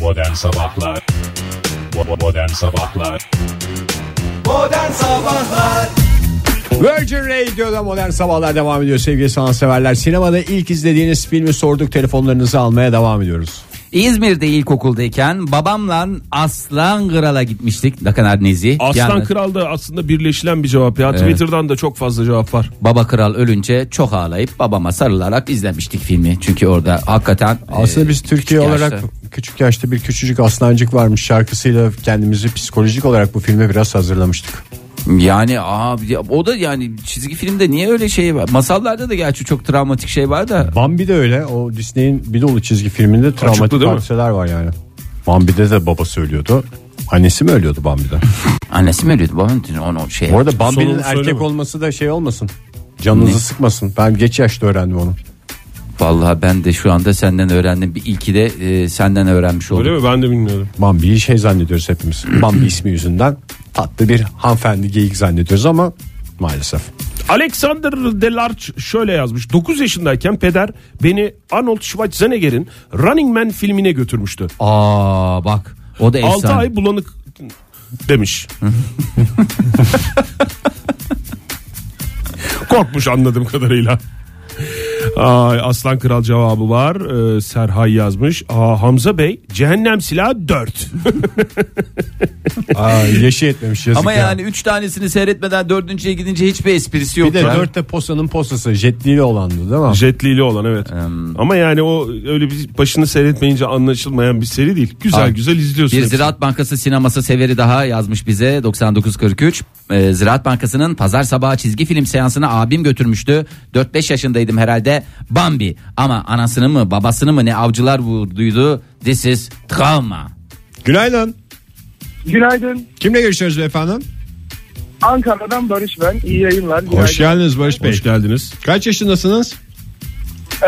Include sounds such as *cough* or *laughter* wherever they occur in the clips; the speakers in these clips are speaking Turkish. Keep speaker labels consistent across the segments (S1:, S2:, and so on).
S1: Modern Sabahlar Bo- Modern Sabahlar
S2: Modern Sabahlar
S3: Virgin Radio'da modern sabahlar devam ediyor sevgili sanatseverler. Sinemada ilk izlediğiniz filmi sorduk telefonlarınızı almaya devam ediyoruz.
S4: Ee,
S5: İzmir'de ilkokuldayken babamla Aslan Kral'a gitmiştik. Ne kadar nezih.
S4: Aslan
S5: Yalnız
S4: Kral da aslında birleşilen bir cevap ya. Twitter'dan da çok fazla cevap var.
S5: Baba Kral ölünce çok ağlayıp babama sarılarak izlemiştik filmi. Çünkü orada hakikaten
S3: Aslında
S5: e,
S3: biz Türkiye
S5: küçük
S3: olarak
S5: yaşta.
S3: küçük yaşta bir küçücük aslancık varmış şarkısıyla kendimizi psikolojik olarak bu filme biraz hazırlamıştık.
S5: yani abi o da yani çizgi filmde niye öyle şey var? Masallarda da gerçi çok travmatik şey var da
S3: Bambi de öyle. O Disney'in bir dolu çizgi filminde travmatik
S4: değil mi?
S3: hadiseler var yani. Bambi'de de babası ölüyordu. Annesi mi ölüyordu Bambi'de?
S5: annesi mi ölüyordu? Babam onu şey.
S3: Bu arada Bambi'nin
S4: Sonunu
S3: erkek
S4: söyleme.
S3: olması da şey olmasın. Canınızı
S5: Ne?
S3: sıkmasın. Ben geç yaşta öğrendim onu.
S5: Vallahi ben de şu anda senden öğrendim. Bir ilki de e, senden öğrenmiş oldum.
S4: Öyle mi? Ben de bilmiyorum.
S3: Bambi'yi şey zannediyoruz hepimiz. Bambi ismi yüzünden tatlı bir hanımefendi geyik zannediyoruz ama maalesef.
S4: Alexander Delarge şöyle yazmış. 9 yaşındayken peder beni Arnold Schwarzenegger'in Running Man filmine götürmüştü.
S5: Aa bak o da
S4: 6
S5: efsane.
S4: ay bulanık demiş. Korkmuş anladığım kadarıyla. Ay, Aslan Kral cevabı var. Ee, Serhay yazmış. Aa, Hamza Bey Cehennem Silahı 4.
S3: Aa, yaşı yetmemiş yazık
S5: Ama
S3: ya.
S5: yani üç tanesini seyretmeden dördüncüye gidince hiçbir esprisi
S3: bir
S5: yok.
S3: de dörtte posanın posası jetlili olandı değil mi?
S4: Jetlili olan evet. Ama yani o öyle bir başını seyretmeyince anlaşılmayan bir seri değil. Güzel
S5: Abi,
S4: güzel izliyorsun.
S5: Bir
S3: şey
S4: hepsini.
S5: Ziraat Bankası sineması severi daha yazmış bize 9943. Ee, Ziraat Bankası'nın pazar sabahı çizgi film seansına abim götürmüştü. 4-5 yaşındaydım herhalde. Bambi ama anasını mı babasını mı ne avcılar vurduydu. This is trauma.
S3: Günaydın.
S6: Günaydın.
S3: Kimle görüşüyoruz efendim?
S6: Ankara'dan Barış ben. İyi yayınlar.
S3: Hoş
S6: Günaydın.
S3: geldiniz Barış Bey.
S4: Hoş geldiniz.
S3: Kaç yaşındasınız?
S6: Ee,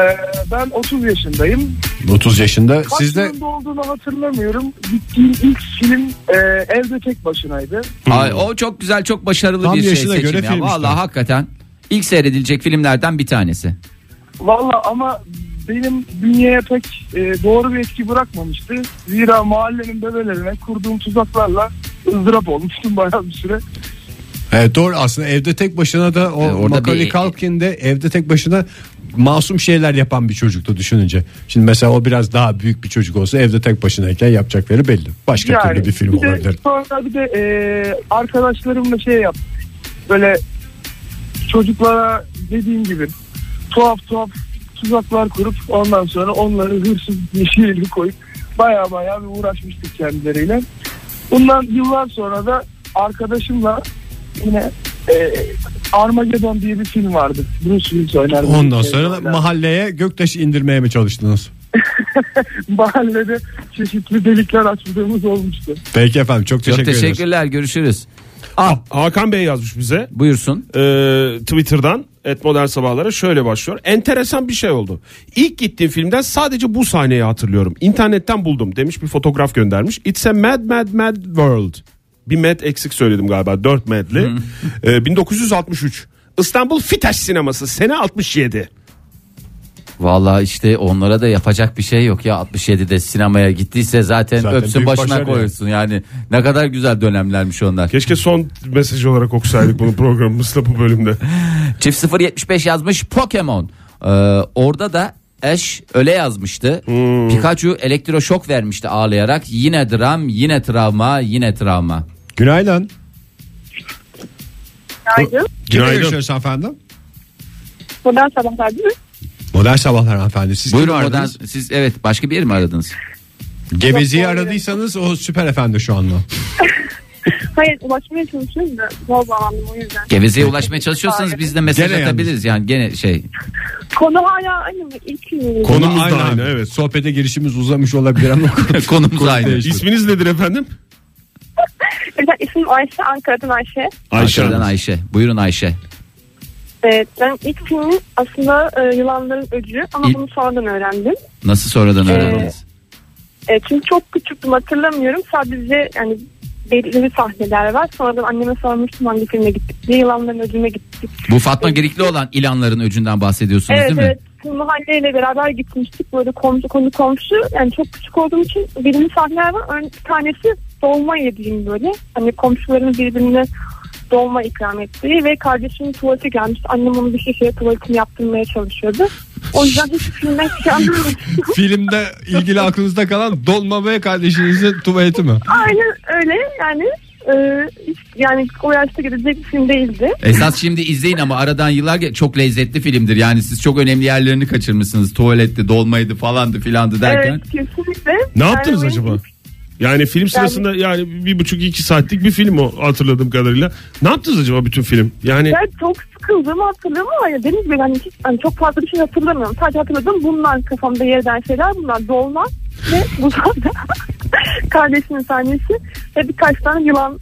S6: ben 30 yaşındayım.
S3: 30 yaşında.
S6: Kaç
S3: Siz de
S6: yılında olduğunu hatırlamıyorum. Gittiğim ilk film e, Evde Tek Başınaydı.
S5: Ay, o çok güzel çok başarılı
S3: Hmm. Tam
S5: bir şey
S3: yaşına
S5: seçim
S3: göre
S5: ya.
S3: film işte.
S5: Vallahi hakikaten ilk seyredilecek filmlerden bir tanesi.
S6: Valla ama benim bünyeye pek e, doğru bir etki bırakmamıştı. Zira mahallenin bebelerine kurduğum tuzaklarla ızdırap olmuştum bayağı bir süre.
S3: evet, E, doğru aslında evde tek başına da o
S5: Ee, orada
S3: Macaulay
S5: bir-
S3: Culkin'de evde tek başına masum şeyler yapan bir çocuktu düşününce. Şimdi mesela o biraz daha büyük bir çocuk olsa evde tek başınayken yapacakları belli. Başka türlü bir film
S6: de
S3: olabilir.
S6: Sonra bir de e, arkadaşlarımla şey yaptık. Böyle çocuklara dediğim gibi tuhaf tuhaf tuzaklar kurup ondan sonra onları hırsız yeşil koyup baya baya bir uğraşmıştık kendileriyle. Bundan yıllar sonra da arkadaşımla yine e, Armageddon diye bir film vardı. Bruce Willis oynardı.
S3: Ondan
S6: Şey
S3: sonra da
S6: oynardı.
S3: mahalleye göktaşı indirmeye mi çalıştınız?
S6: *laughs* mahallede çeşitli delikler açtığımız olmuştu.
S3: Peki efendim çok teşekkür,
S5: çok
S3: ederiz.
S5: teşekkürler görüşürüz.
S4: Hakan Bey yazmış bize.
S5: Buyursun.
S4: Ee, Twitter'dan et modern sabahlara şöyle başlıyor. Enteresan bir şey oldu. İlk gittiğim filmden sadece bu sahneyi hatırlıyorum. İnternetten buldum demiş bir fotoğraf göndermiş. It's a mad mad mad world. Bir mad eksik söyledim galiba. Dört madli. Ee, 1963. İstanbul Fitaş Sineması sene 67.
S5: Vallahi işte onlara da yapacak bir şey yok ya 67'de sinemaya gittiyse zaten,
S3: Zaten
S5: öpsün
S3: büyük
S5: başına
S3: başarı
S5: koyulsun yani. ne kadar güzel dönemlermiş onlar.
S4: Keşke son mesaj olarak okusaydık bunu programımızda bu bölümde.
S5: Çift 075 yazmış Pokemon. Ee, orada da Ash öyle yazmıştı.
S3: Hmm.
S5: Pikachu elektroşok vermişti ağlayarak. Yine dram, yine travma, yine travma.
S3: Günaydın.
S7: Günaydın.
S3: Kimle
S4: Günaydın.
S3: görüşüyoruz efendim?
S7: Modern sabahlar değil mi?
S3: Modern sabahlar hanımefendi. Siz
S5: Buyurun
S3: kimi
S5: oradan
S3: aradınız?
S5: siz evet başka bir yer mi aradınız?
S3: Geveziyi
S7: Yok, hayır.
S3: aradıysanız o süper efendi şu anda.
S7: Hayır ulaşmaya çalışıyorum da zor bağlandım o yüzden.
S5: Geveze'ye ulaşmaya çalışıyorsanız biz de mesaj
S3: Gene
S5: atabiliriz yani gene
S3: *laughs*
S5: şey.
S7: Konu hala aynı mı? İlk gün.
S4: Konumuz da aynı, evet.
S3: Sohbete girişimiz uzamış olabilir ama *laughs*
S5: Konumuz aynı.
S4: İsminiz nedir efendim?
S7: Mesela isim Ayşe, Ankara'dan Ayşe.
S5: Ankara'dan Ayşe. Buyurun Ayşe.
S7: Evet, Ee, ben ilk filmim aslında e, Yılanların Öcü ama
S5: İl-
S7: bunu sonradan öğrendim.
S5: Nasıl sonradan öğrendiniz?
S7: E, çünkü çok küçüktüm hatırlamıyorum. Sadece yani belirli sahneler var. Sonradan anneme sormuştum hangi filme gittik diye. Yılanların Öcü'ne gittik.
S5: Bu Fatma Gerikli olan ilanların öcünden bahsediyorsunuz
S7: evet
S5: değil mi?
S7: evet. mahalleyle beraber gitmiştik. Böyle komşu konu komşu. Yani çok küçük olduğum için birinci sahneler var. Ön- Bir tanesi dolma yediğim böyle. Hani komşuların birbirine dolma ikram ettiği ve kardeşimin tuvaleti gelmiş. Annem onu bir şişeye tuvaletini yaptırmaya çalışıyordu. O yüzden hiç *laughs* filmden hiç anlamadım.
S3: Filmde ilgili aklınızda kalan dolma ve kardeşinizin tuvaleti mi?
S7: Aynen öyle yani. e, hiç, yani o yaşta gidecek bir film değildi.
S5: Esas şimdi izleyin ama aradan yıllar ge- çok lezzetli filmdir. Yani siz çok önemli yerlerini kaçırmışsınız. Tuvaletti, dolmaydı falandı filandı derken.
S7: Evet kesinlikle.
S4: Ne yaptınız
S7: Yani
S4: acaba? Yani film sırasında yani, bir buçuk iki saatlik bir film o hatırladığım kadarıyla. Ne yaptınız acaba bütün film? Yani
S7: Ben çok sıkıldığımı hatırlıyorum ama yani dediğim gibi hani, hiç, hani çok fazla bir şey hatırlamıyorum. Sadece hatırladım bunlar kafamda yer eden şeyler bunlar dolma ve buzanda *laughs* kardeşimin sahnesi ve birkaç tane yılan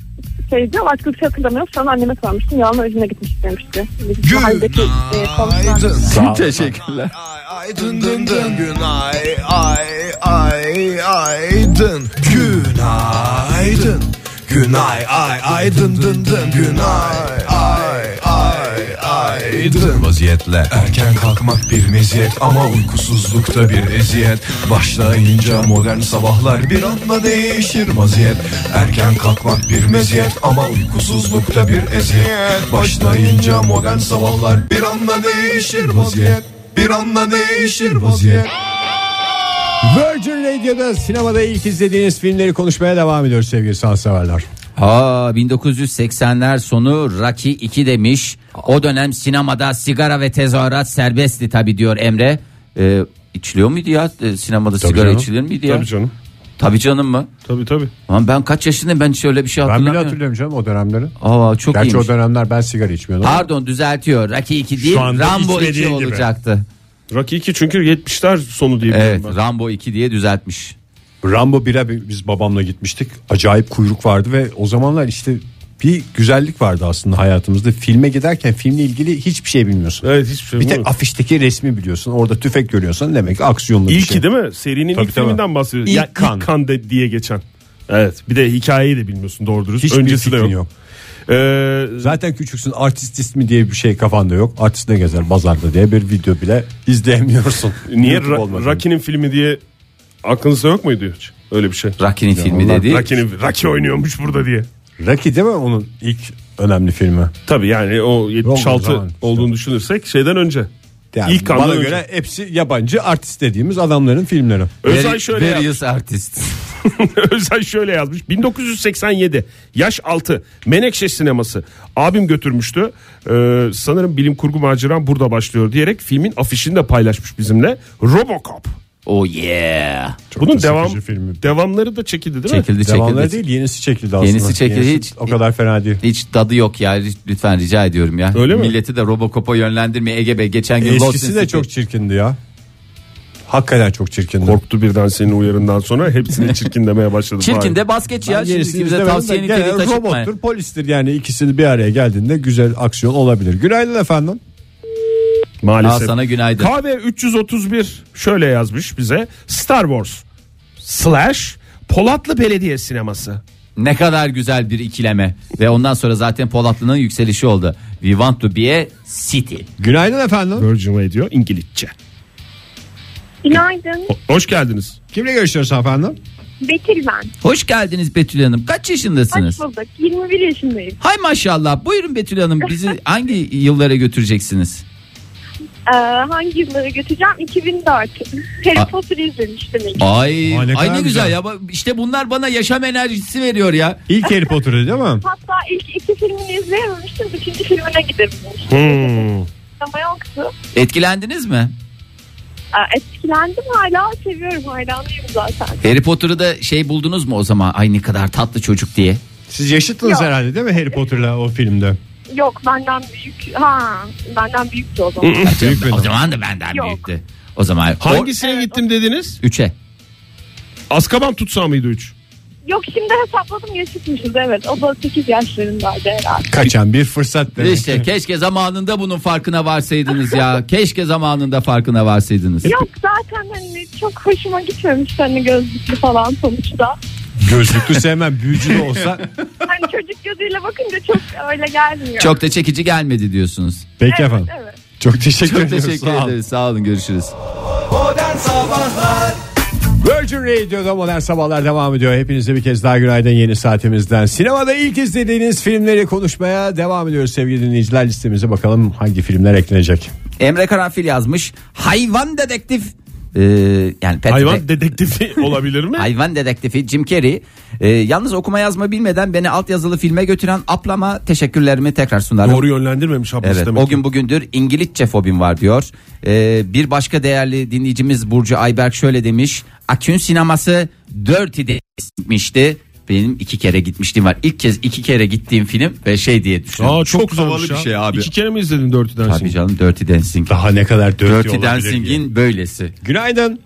S7: şeydi. Başka bir şey hatırlamıyorum. Sonra anneme sormuştum. Yılan özüne gitmiş demişti. Bizim mahalledeki e, komşular.
S5: Teşekkürler.
S8: Aydın dın dın günay ay ay aydın günaydın günay ay aydın dın dın günay ay ay aydın vaziyetle erken kalkmak bir meziyet ama uykusuzlukta bir eziyet başlayınca modern sabahlar bir anda değişir vaziyet erken kalkmak bir meziyet ama uykusuzlukta bir eziyet başlayınca modern sabahlar bir anda değişir vaziyet bir anda değişir vaziyet.
S3: Virgin Radio'da sinemada ilk izlediğiniz filmleri konuşmaya devam ediyoruz sevgili sanatseverler.
S5: Aa 1980'ler sonu Rocky 2 demiş. O dönem sinemada sigara ve tezahürat serbestti tabi diyor Emre. Ee, içiliyor muydu ya Ee, sinemada sigara
S4: canım.
S5: içilir miydi ya?
S4: tabii canım.
S5: Tabii canım mı?
S4: Tabii tabii.
S5: Lan ben kaç yaşındayım ben şöyle bir şey
S3: Ben bile
S5: hatırlamıyorum.
S3: hatırlıyorum canım o dönemleri.
S5: Aa çok
S3: Gerçi
S5: iyiymiş.
S3: o dönemler ben sigara içmiyordum.
S5: Pardon düzeltiyor. Rocky 2 değil
S9: anda
S5: Rambo 2
S9: içmediğin gibi.
S5: olacaktı.
S4: Rocky 2 çünkü 70'ler sonu diye
S5: Evet
S4: biliyorum ben.
S5: Rambo 2 diye düzeltmiş.
S3: Rambo 1'e bi- biz babamla gitmiştik. Acayip kuyruk vardı ve o zamanlar işte bir güzellik vardı aslında hayatımızda. Filme giderken filmle ilgili hiçbir şey bilmiyorsun.
S4: Evet hiçbir şey
S3: Bir tek
S4: bilmiyorum.
S3: afişteki resmi biliyorsun. Orada tüfek görüyorsan demek ki aksiyonlu bir
S4: İlki
S3: şey.
S4: değil mi? Serinin
S3: Tabii,
S4: ilk
S3: tabii.
S4: filminden bahsediyoruz.
S3: İlk
S4: Ya, İlk
S3: kan.
S4: kan. de, diye geçen. Evet. Bir de hikayeyi de bilmiyorsun doğru dürüst.
S3: Hiçbir
S4: Öncesi de
S3: fikrin
S4: yok.
S3: yok.
S4: Ee,
S3: Zaten küçüksün artist ismi diye bir şey kafanda yok. Artist ne gezer pazarda diye bir video bile izleyemiyorsun.
S4: *laughs* niye
S3: YouTube
S4: Ra-
S3: olmadı.
S4: Rocky'nin filmi diye aklınızda yok muydu hiç? Öyle bir şey.
S5: Rocky'nin filmi
S3: onlar-
S5: dedi.
S4: Rocky'nin Rocky oynuyormuş burada diye.
S3: Rocky değil mi onun ilk önemli filmi?
S4: Tabii yani o 76
S3: zaman işte.
S4: olduğunu düşünürsek şeyden önce.
S3: Yani
S4: İlk kandan
S3: bana
S4: önce.
S3: göre hepsi yabancı artist dediğimiz adamların filmleri.
S4: Özay şöyle yaz-
S5: Various artist.
S4: *laughs* Özay şöyle yazmış. 1987 yaş 6 Menekşe sineması. Abim götürmüştü. Ee, sanırım bilim kurgu maceram burada başlıyor diyerek filmin afişini de paylaşmış bizimle. Robocop.
S5: Oh yeah.
S4: Bunun
S3: da
S4: devam
S3: sıkıcı filmi.
S4: devamları da çekildi değil mi?
S5: Çekildi
S3: Devamları
S5: çekildi.
S3: değil yenisi çekildi aslında.
S5: Yenisi çekildi, hiç-
S3: O kadar fena değil.
S5: Hiç tadı yok ya lütfen rica ediyorum ya.
S4: Öyle mi?
S5: Milleti de Robocop'a yönlendirmeye Ege Bey geçen gün Lost in
S3: Eskisi de
S5: City-
S3: çok çirkindi ya. Hakikaten çok çirkindi.
S4: Korktu birden senin uyarından
S5: *laughs*
S4: sonra hepsini çirkinlemeye başladı.
S5: Çirkin
S4: Vay.
S5: de basket ya.
S3: Ben
S5: Şimdi
S3: yenisini
S5: kimse
S3: izlemedim de
S5: tavsiyeni
S3: genel
S5: tabii taşıtmayın.
S3: Robottur polistir yani ikisini bir araya geldiğinde güzel aksiyon olabilir. Günaydın efendim.
S5: Aa,
S4: Maalesef.
S5: sana günaydın.
S4: KV331 şöyle yazmış bize. Star Wars slash Polatlı Belediye Sineması.
S5: ne kadar güzel bir ikileme. Ve ondan sonra zaten Polatlı'nın yükselişi oldu. We want to be a city.
S3: Günaydın efendim.
S4: Virgin Radio İngilizce.
S7: Günaydın.
S4: Ho- Hoş geldiniz.
S3: Kimle görüşüyoruz efendim?
S7: Betül ben.
S5: Hoş geldiniz Betül Hanım. Kaç yaşındasınız?
S7: Kaç bulduk? 21 yaşındayım.
S5: Hay maşallah. Buyurun Betül Hanım bizi
S7: *laughs*
S5: hangi yıllara götüreceksiniz?
S7: Ee, hangi yılları götüreceğim? 2004.
S5: A-
S7: Harry Potter izlemiştim ilk.
S5: Ay,
S3: Aa, ne
S5: ay
S3: kadar
S5: ne
S3: güzel.
S5: güzel ya. Bak, İşte bunlar bana yaşam enerjisi veriyor ya.
S3: İlk Harry Potter'ı
S5: *laughs*
S3: değil mi?
S7: Hatta ilk iki filmini izleyememiştim. Üçüncü filmine gidebilmiştim.
S4: Hmm.
S7: Ama yoktu.
S5: Etkilendiniz mi?
S7: Ee, etkilendim hala. Seviyorum hayranıyım zaten.
S5: Harry Potter'ı da şey buldunuz mu o zaman? Ay ne kadar tatlı çocuk diye.
S3: Siz yaşıttınız
S7: Yok.
S3: herhalde değil mi Harry Potter'la o filmde?
S7: Yok benden büyük. Ha benden büyüktü o zaman.
S3: *laughs* Büyük benim.
S5: O zaman da benden
S7: Yok.
S5: büyüktü. O zaman
S4: Hangisine gittim dediniz?
S5: 3'e.
S4: Azkaban tutsağı mıydı 3?
S7: Yok şimdi hesapladım yaşıtmışız evet. O da 8 yaşlarındaydı herhalde.
S3: Kaçan bir fırsat demek. *laughs*
S5: İşte keşke zamanında bunun farkına varsaydınız ya. keşke zamanında farkına varsaydınız.
S7: Yok zaten hani çok hoşuma gitmemiş hani gözlüklü falan sonuçta.
S3: Gözlüklü sevmem büyücü
S5: *laughs*
S3: de olsa.
S7: Hani çocuk gözüyle bakınca çok öyle gelmiyor.
S5: Çok da çekici gelmedi diyorsunuz.
S3: *laughs* Peki
S7: evet,
S3: efendim.
S7: evet.
S3: Çok teşekkür
S5: Çok
S3: ediyoruz.
S5: teşekkür
S3: Sağ ol.
S5: ederiz. Sağ olun görüşürüz.
S3: Virgin Radio'da modern sabahlar devam ediyor. Hepinize bir kez daha günaydın yeni saatimizden. Sinemada ilk izlediğiniz filmleri konuşmaya devam ediyoruz sevgili dinleyiciler. Listemize bakalım hangi filmler eklenecek.
S5: Emre Karanfil yazmış. Hayvan dedektif. Ee, yani pet-
S4: Hayvan
S5: pet- *laughs*
S4: dedektifi olabilir mi?
S5: Hayvan dedektifi Jim Carrey. Ee, yalnız okuma yazma bilmeden beni altyazılı filme götüren aplama teşekkürlerimi tekrar sunarım.
S4: Doğru yönlendirmemiş ablası
S5: Evet,
S4: demek.
S5: o gün bugündür İngilizce fobim var diyor. Ee, bir başka değerli dinleyicimiz Burcu Ayberk şöyle demiş. Akün sineması Dirty'de gitmişti. Benim iki kere gitmiştim var. İlk kez iki kere gittiğim film ve şey diye düşünüyorum.
S4: Aa, çok,
S5: havalı
S4: güzelmiş
S5: bir
S4: ya.
S5: şey abi.
S4: İki kere mi izledin dörtü dersin?
S5: Tabii canım Dirty Dancing.
S3: Daha ne kadar dört
S5: Dirty
S3: olabilir ki?
S5: Dancing'in böylesi.
S3: Günaydın.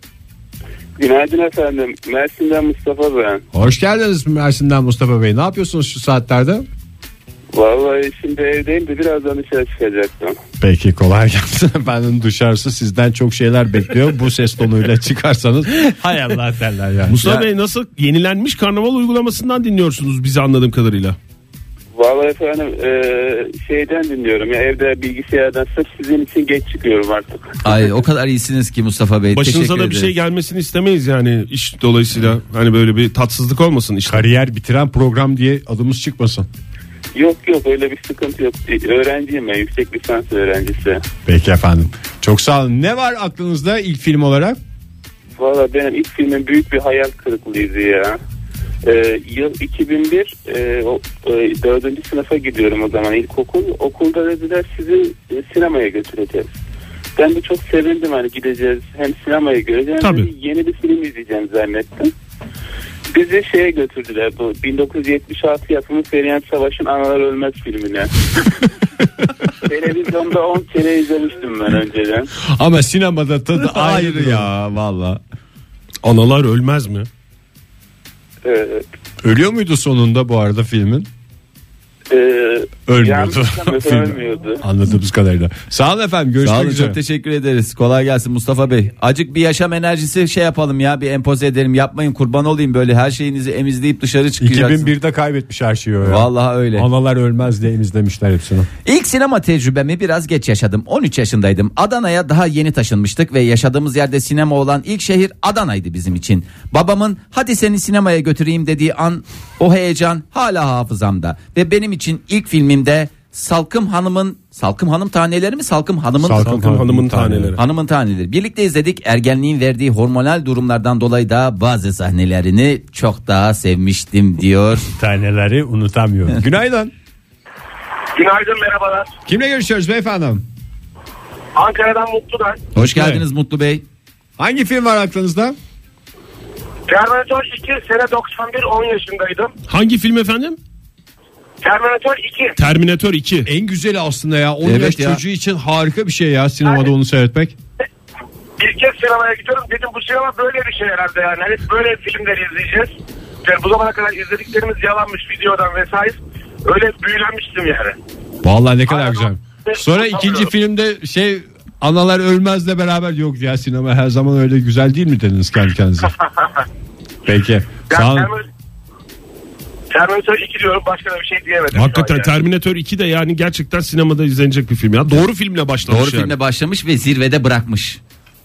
S9: Günaydın efendim. Mersin'den Mustafa ben.
S3: Hoş geldiniz Mersin'den Mustafa Bey. Ne yapıyorsunuz şu saatlerde?
S9: Vallahi şimdi evdeyim de birazdan dışarı çıkacaktım.
S3: Peki kolay
S4: *laughs*
S3: gelsin. Efendim dışarısı sizden çok şeyler bekliyor. Bu ses tonuyla çıkarsanız *laughs* hay Allah derler yani.
S4: Mustafa Bey nasıl yenilenmiş karnaval uygulamasından dinliyorsunuz bizi anladığım kadarıyla.
S9: Vallahi efendim eee, şeyden dinliyorum. Ya evde bilgisayardan sırf sizin için geç çıkıyorum artık.
S5: Ay o kadar iyisiniz ki Mustafa
S3: E,
S5: Bey.
S4: Başınıza
S5: Teşekkür
S4: da bir şey
S5: ederim.
S4: gelmesini istemeyiz yani iş dolayısıyla. Hani böyle bir tatsızlık olmasın işte.
S3: Kariyer bitiren program diye adımız çıkmasın.
S9: Yok yok öyle bir sıkıntı yok. Öğrenciyim ben yüksek lisans öğrencisi.
S3: Peki efendim. Çok sağ olun. Ne var aklınızda ilk film olarak?
S9: Valla benim ilk filmim büyük bir hayal kırıklığıydı ya. Ee, yıl 2001 e, o, e, dördüncü sınıfa gidiyorum o zaman ilkokul. Okulda dediler sizi e, sinemaya götüreceğiz. Ben de çok sevindim hani gideceğiz hem sinemaya göreceğiz hem de
S4: Tabii.
S9: yeni bir film izleyeceğim zannettim. Bizi şeye götürdüler bu 1976 yapımı Feryan Savaş'ın Analar Ölmez filmine. Televizyonda 10 kere izlemiştim ben önceden.
S3: Ama sinemada *laughs* tadı ayrı ya valla. Analar ölmez mi?
S9: Ee,
S3: Ölüyor muydu sonunda bu arada filmin?
S9: e,
S3: Ölmüyordu.
S9: yanlış hatırlamıyorsam
S3: *laughs* Film.
S9: ölmüyordu.
S3: Anladığımız kadarıyla. Sağ olun efendim. Görüşmek
S5: Sağ olun
S3: üzere.
S5: çok teşekkür ederiz. Kolay gelsin Mustafa Bey. Acık bir yaşam enerjisi şey yapalım ya bir empoze edelim. Yapmayın kurban olayım böyle her şeyinizi emizleyip dışarı çıkacaksınız.
S3: 2001'de kaybetmiş her şeyi o ya.
S5: Vallahi öyle.
S3: Analar ölmez diye izlemişler hepsini.
S5: İlk sinema tecrübemi biraz geç yaşadım. 13 yaşındaydım. Adana'ya daha yeni taşınmıştık ve yaşadığımız yerde sinema olan ilk şehir Adana'ydı bizim için. Babamın hadi seni sinemaya götüreyim dediği an o heyecan hala hafızamda. Ve benim için ilk filmimde Salkım Hanım'ın Salkım Hanım taneleri mi Salkım Hanım'ın
S4: Hanım'ın taneleri.
S5: Hanımın taneleri. Birlikte izledik. Ergenliğin verdiği hormonal durumlardan dolayı da bazı sahnelerini çok daha sevmiştim diyor.
S3: Taneleri unutamıyorum. *laughs* Günaydın.
S2: Günaydın merhabalar.
S3: Kimle görüşüyoruz beyefendi?
S2: Ankara'dan mutlu ben.
S5: Hoş geldiniz Mutlu Bey.
S3: Hangi film var aklınızda?
S2: Terminator 2 sene 91 10 yaşındaydım.
S4: Hangi film efendim? E,
S2: Terminator 2.
S4: Terminator 2.
S3: En güzeli aslında ya. 10
S5: Evet
S3: yaş
S5: ya.
S3: çocuğu için harika bir şey ya sinemada onu seyretmek.
S2: Bir kez sinemaya gidiyorum. Dedim bu sinema böyle bir şey herhalde yani. Hani hep böyle filmleri izleyeceğiz. Yani bu zamana kadar izlediklerimiz yalanmış videodan vesaire. Öyle büyülenmiştim yani.
S3: Vallahi ne kadar
S2: Aynen.
S3: güzel. Sonra ikinci filmde şey analar ölmezle beraber yok ya sinema her zaman öyle güzel değil mi dediniz
S2: *laughs*
S3: kendi kendinize? Peki.
S2: Yani
S3: Sağ olun.
S2: Terminator- Terminator 2 diyorum başka da bir şey diyemedim.
S4: Hakikaten
S2: Şu an yani.
S4: Terminator 2 de yani hani gerçekten sinemada izlenecek bir film ya. Doğru filmle başlamış
S5: Doğru
S4: yani.
S5: filme başlamış ve zirvede bırakmış.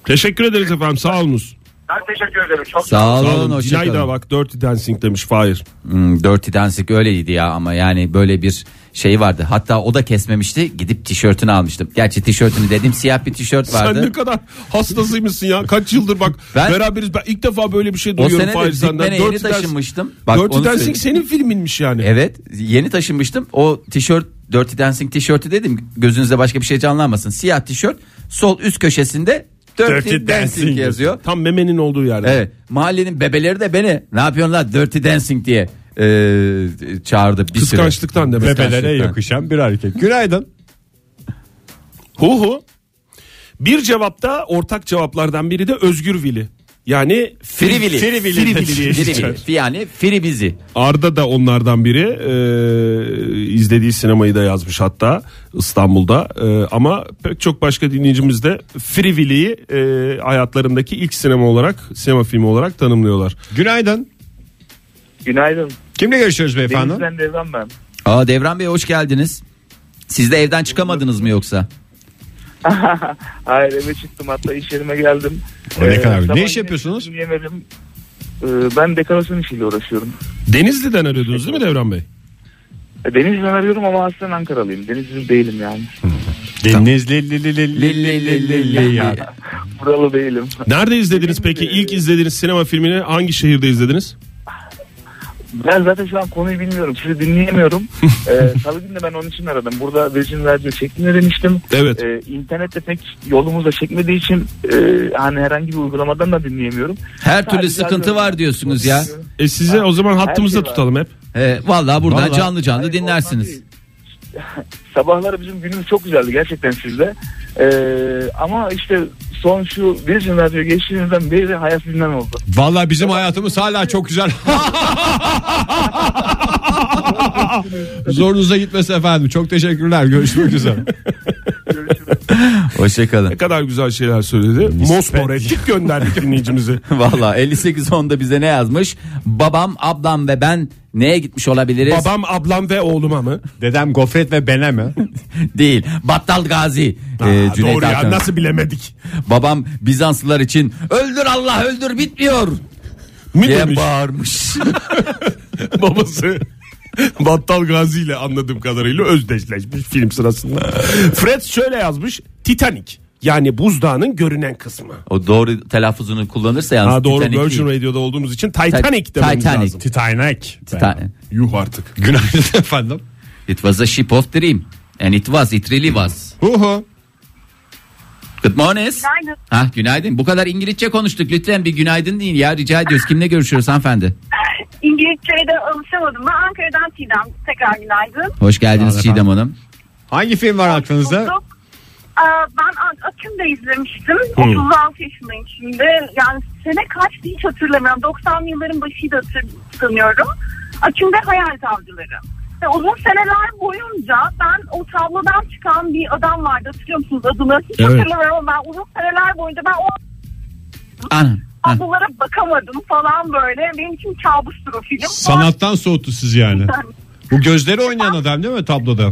S4: Teşekkür ederiz efendim sağ olunuz.
S2: Ben teşekkür ederim.
S5: Sağ
S2: Çok
S4: Sağ
S5: olun,
S4: olun. Cinayda
S5: hoşçakalın.
S4: bak Dirty Dancing demiş Fahir.
S5: Hmm, Dirty Dancing öyleydi ya ama yani böyle bir şey vardı. Hatta o da kesmemişti. Gidip tişörtünü almıştım. Gerçi tişörtünü dedim siyah bir tişört
S4: Sen ne
S5: vardı.
S4: kadar hastasıymışsın ya. Kaç yıldır bak
S5: *laughs* Ben-
S4: beraberiz. Ben ilk defa böyle bir şey
S5: O
S4: duyuyorum
S5: sene de
S4: Fahir senden.
S5: Dikmen'e
S4: Dirty
S5: yeni
S4: Dancing,
S5: taşınmıştım.
S4: Dirty
S5: onu
S4: Dancing
S5: söyleyeyim.
S4: senin filminmiş yani.
S5: Evet yeni taşınmıştım. O tişört Dirty Dancing tişörtü dedim. Gözünüzde başka bir şey canlanmasın. Siyah tişört sol üst köşesinde Dirty, Dancing yazıyor.
S4: Tam memenin olduğu yerde.
S5: Evet mahallenin bebeleri de beni ne yapıyorsun lan Dirty Dancing diye e, çağırdı. Bir süre.
S4: Kıskançlıktan demek.
S3: Bebelere
S5: Gerçekten.
S3: yakışan bir hareket. Günaydın.
S4: Hu hu. Bir cevapta ortak cevaplardan biri de Özgür Vili. Yani
S5: Free Willy.
S4: Free Willy.
S5: Free Willy. Yani Free bizi.
S4: Arda da onlardan biri Ee, izlediği sinemayı da yazmış hatta İstanbul'da Ee, ama pek çok başka dinleyicimiz de Free Willy'yi e, hayatlarındaki ilk sinema olarak sinema filmi olarak tanımlıyorlar.
S3: Günaydın.
S2: Günaydın.
S3: Kimle görüşüyoruz beyefendi?
S2: Devran ben.
S5: Aa Devran Bey hoş geldiniz. Siz de evden çıkamadınız mı yoksa?
S10: Hayır eve çıktım hatta iş yerime geldim. Ee,
S3: O ne kadar güzel. Ne
S10: sabah
S3: iş
S10: yine
S3: yapıyorsunuz?
S10: Yemedim. Ee, ben dekorasyon işiyle uğraşıyorum.
S4: Denizli'den arıyordunuz değil mi Devran Bey?
S10: E, Denizli'den arıyorum ama aslen Ankaralıyım. Denizli değilim yani.
S3: Denizli ya.
S10: Buralı değilim.
S4: Nerede izlediniz peki? İlk izlediğiniz sinema filmini hangi şehirde izlediniz?
S10: Ben zaten şu an konuyu bilmiyorum.
S5: *laughs*
S10: Sizi dinleyemiyorum. ee, Salı günü de ben onun için aradım. Burada Virgin Radio çektiğini demiştim.
S4: Evet.
S10: Ee, internette pek yolumuz da çekmediği için e, hani herhangi bir uygulamadan da dinleyemiyorum.
S5: Her türlü
S10: Sadece Ee,
S5: sıkıntı
S10: radyo-
S5: var diyorsunuz ya.
S4: E size o zaman hattımızda
S10: Her şey var.
S4: tutalım hep.
S5: Ee, vallahi buradan
S3: Vallahi.
S5: canlı canlı
S10: Hayır,
S5: dinlersiniz.
S10: ondan değil. *laughs* Sabahları bizim günümüz çok güzeldi gerçekten sizde. Ee, ama işte son şu Virgin Radio geçtiğinizden beri hayat bilmem oldu.
S3: Vallahi bizim hayatımız hala çok
S2: *laughs*
S3: güzel. Zorunuza gitmesin efendim. Çok teşekkürler.
S2: *laughs*
S3: Görüşmek üzere.
S5: Hoşçakalın. *laughs*
S4: Ne kadar güzel şeyler söyledi. Mosmor ettik gönderdik dinleyicimizi.
S5: Valla 58.10'da bize ne yazmış? Babam, ablam ve ben neye gitmiş olabiliriz?
S4: Babam, ablam ve oğluma mı?
S3: Dedem gofret ve bene mi? E,
S5: Değil. Battal Gazi. Ee,
S4: Aa,
S5: Cüneyt
S4: doğru ya
S5: Arkın.
S4: nasıl bilemedik.
S5: Babam Bizanslılar için öldür Allah öldür bitmiyor
S4: Mi
S5: diye
S4: demiş
S5: bağırmış.
S4: *laughs* babası? Battal Gazi ile anladığım kadarıyla özdeşleşmiş film sırasında. Fred şöyle yazmış. Titanic. Yani buzdağının görünen kısmı.
S5: o doğru telaffuzunu kullanırsa yalnız
S4: Ha doğru
S5: Titanic
S4: Virgin
S5: değil.
S4: Radio'da olduğumuz için Titanic dememiz
S5: Titanic.
S4: lazım.
S3: Titanic.
S5: Titan-
S4: Yuh artık.
S3: Günaydın *laughs* efendim.
S5: It was a ship of dream. And it was, it really was.
S3: Hu hu.
S5: Good morning. Ha günaydın. Bu kadar İngilizce konuştuk. Lütfen bir günaydın deyin ya. Rica ediyoruz. Kimle görüşüyoruz hanımefendi?
S7: İngiltere'de alışamadım. Ben Ankara'dan Çiğdem. Tekrar günaydın.
S5: Hoş geldiniz
S3: Merhaba
S5: Çiğdem
S3: efendim.
S5: Hanım.
S3: Hangi film var aklınızda?
S7: Bulduk. Aa, ben Ak- Akın'da izlemiştim. 36 yaşındayım şimdi. Yani sene kaçtı hiç hatırlamıyorum. 90'lı yılların başıydı hatırlamıyorum. Akın'da hayal tavcıları. Ve uzun seneler boyunca ben o tablodan çıkan bir adam vardı. Hatırlıyor musunuz adını? Hiç
S4: Evet.
S7: hatırlamıyorum ama ben uzun seneler boyunca ben o
S5: Ana. Ha.
S7: tablolara bakamadım falan böyle. Benim için kabustur o film.
S3: Sanattan soğuttu siz yani. Bu gözleri oynayan adam değil mi tabloda?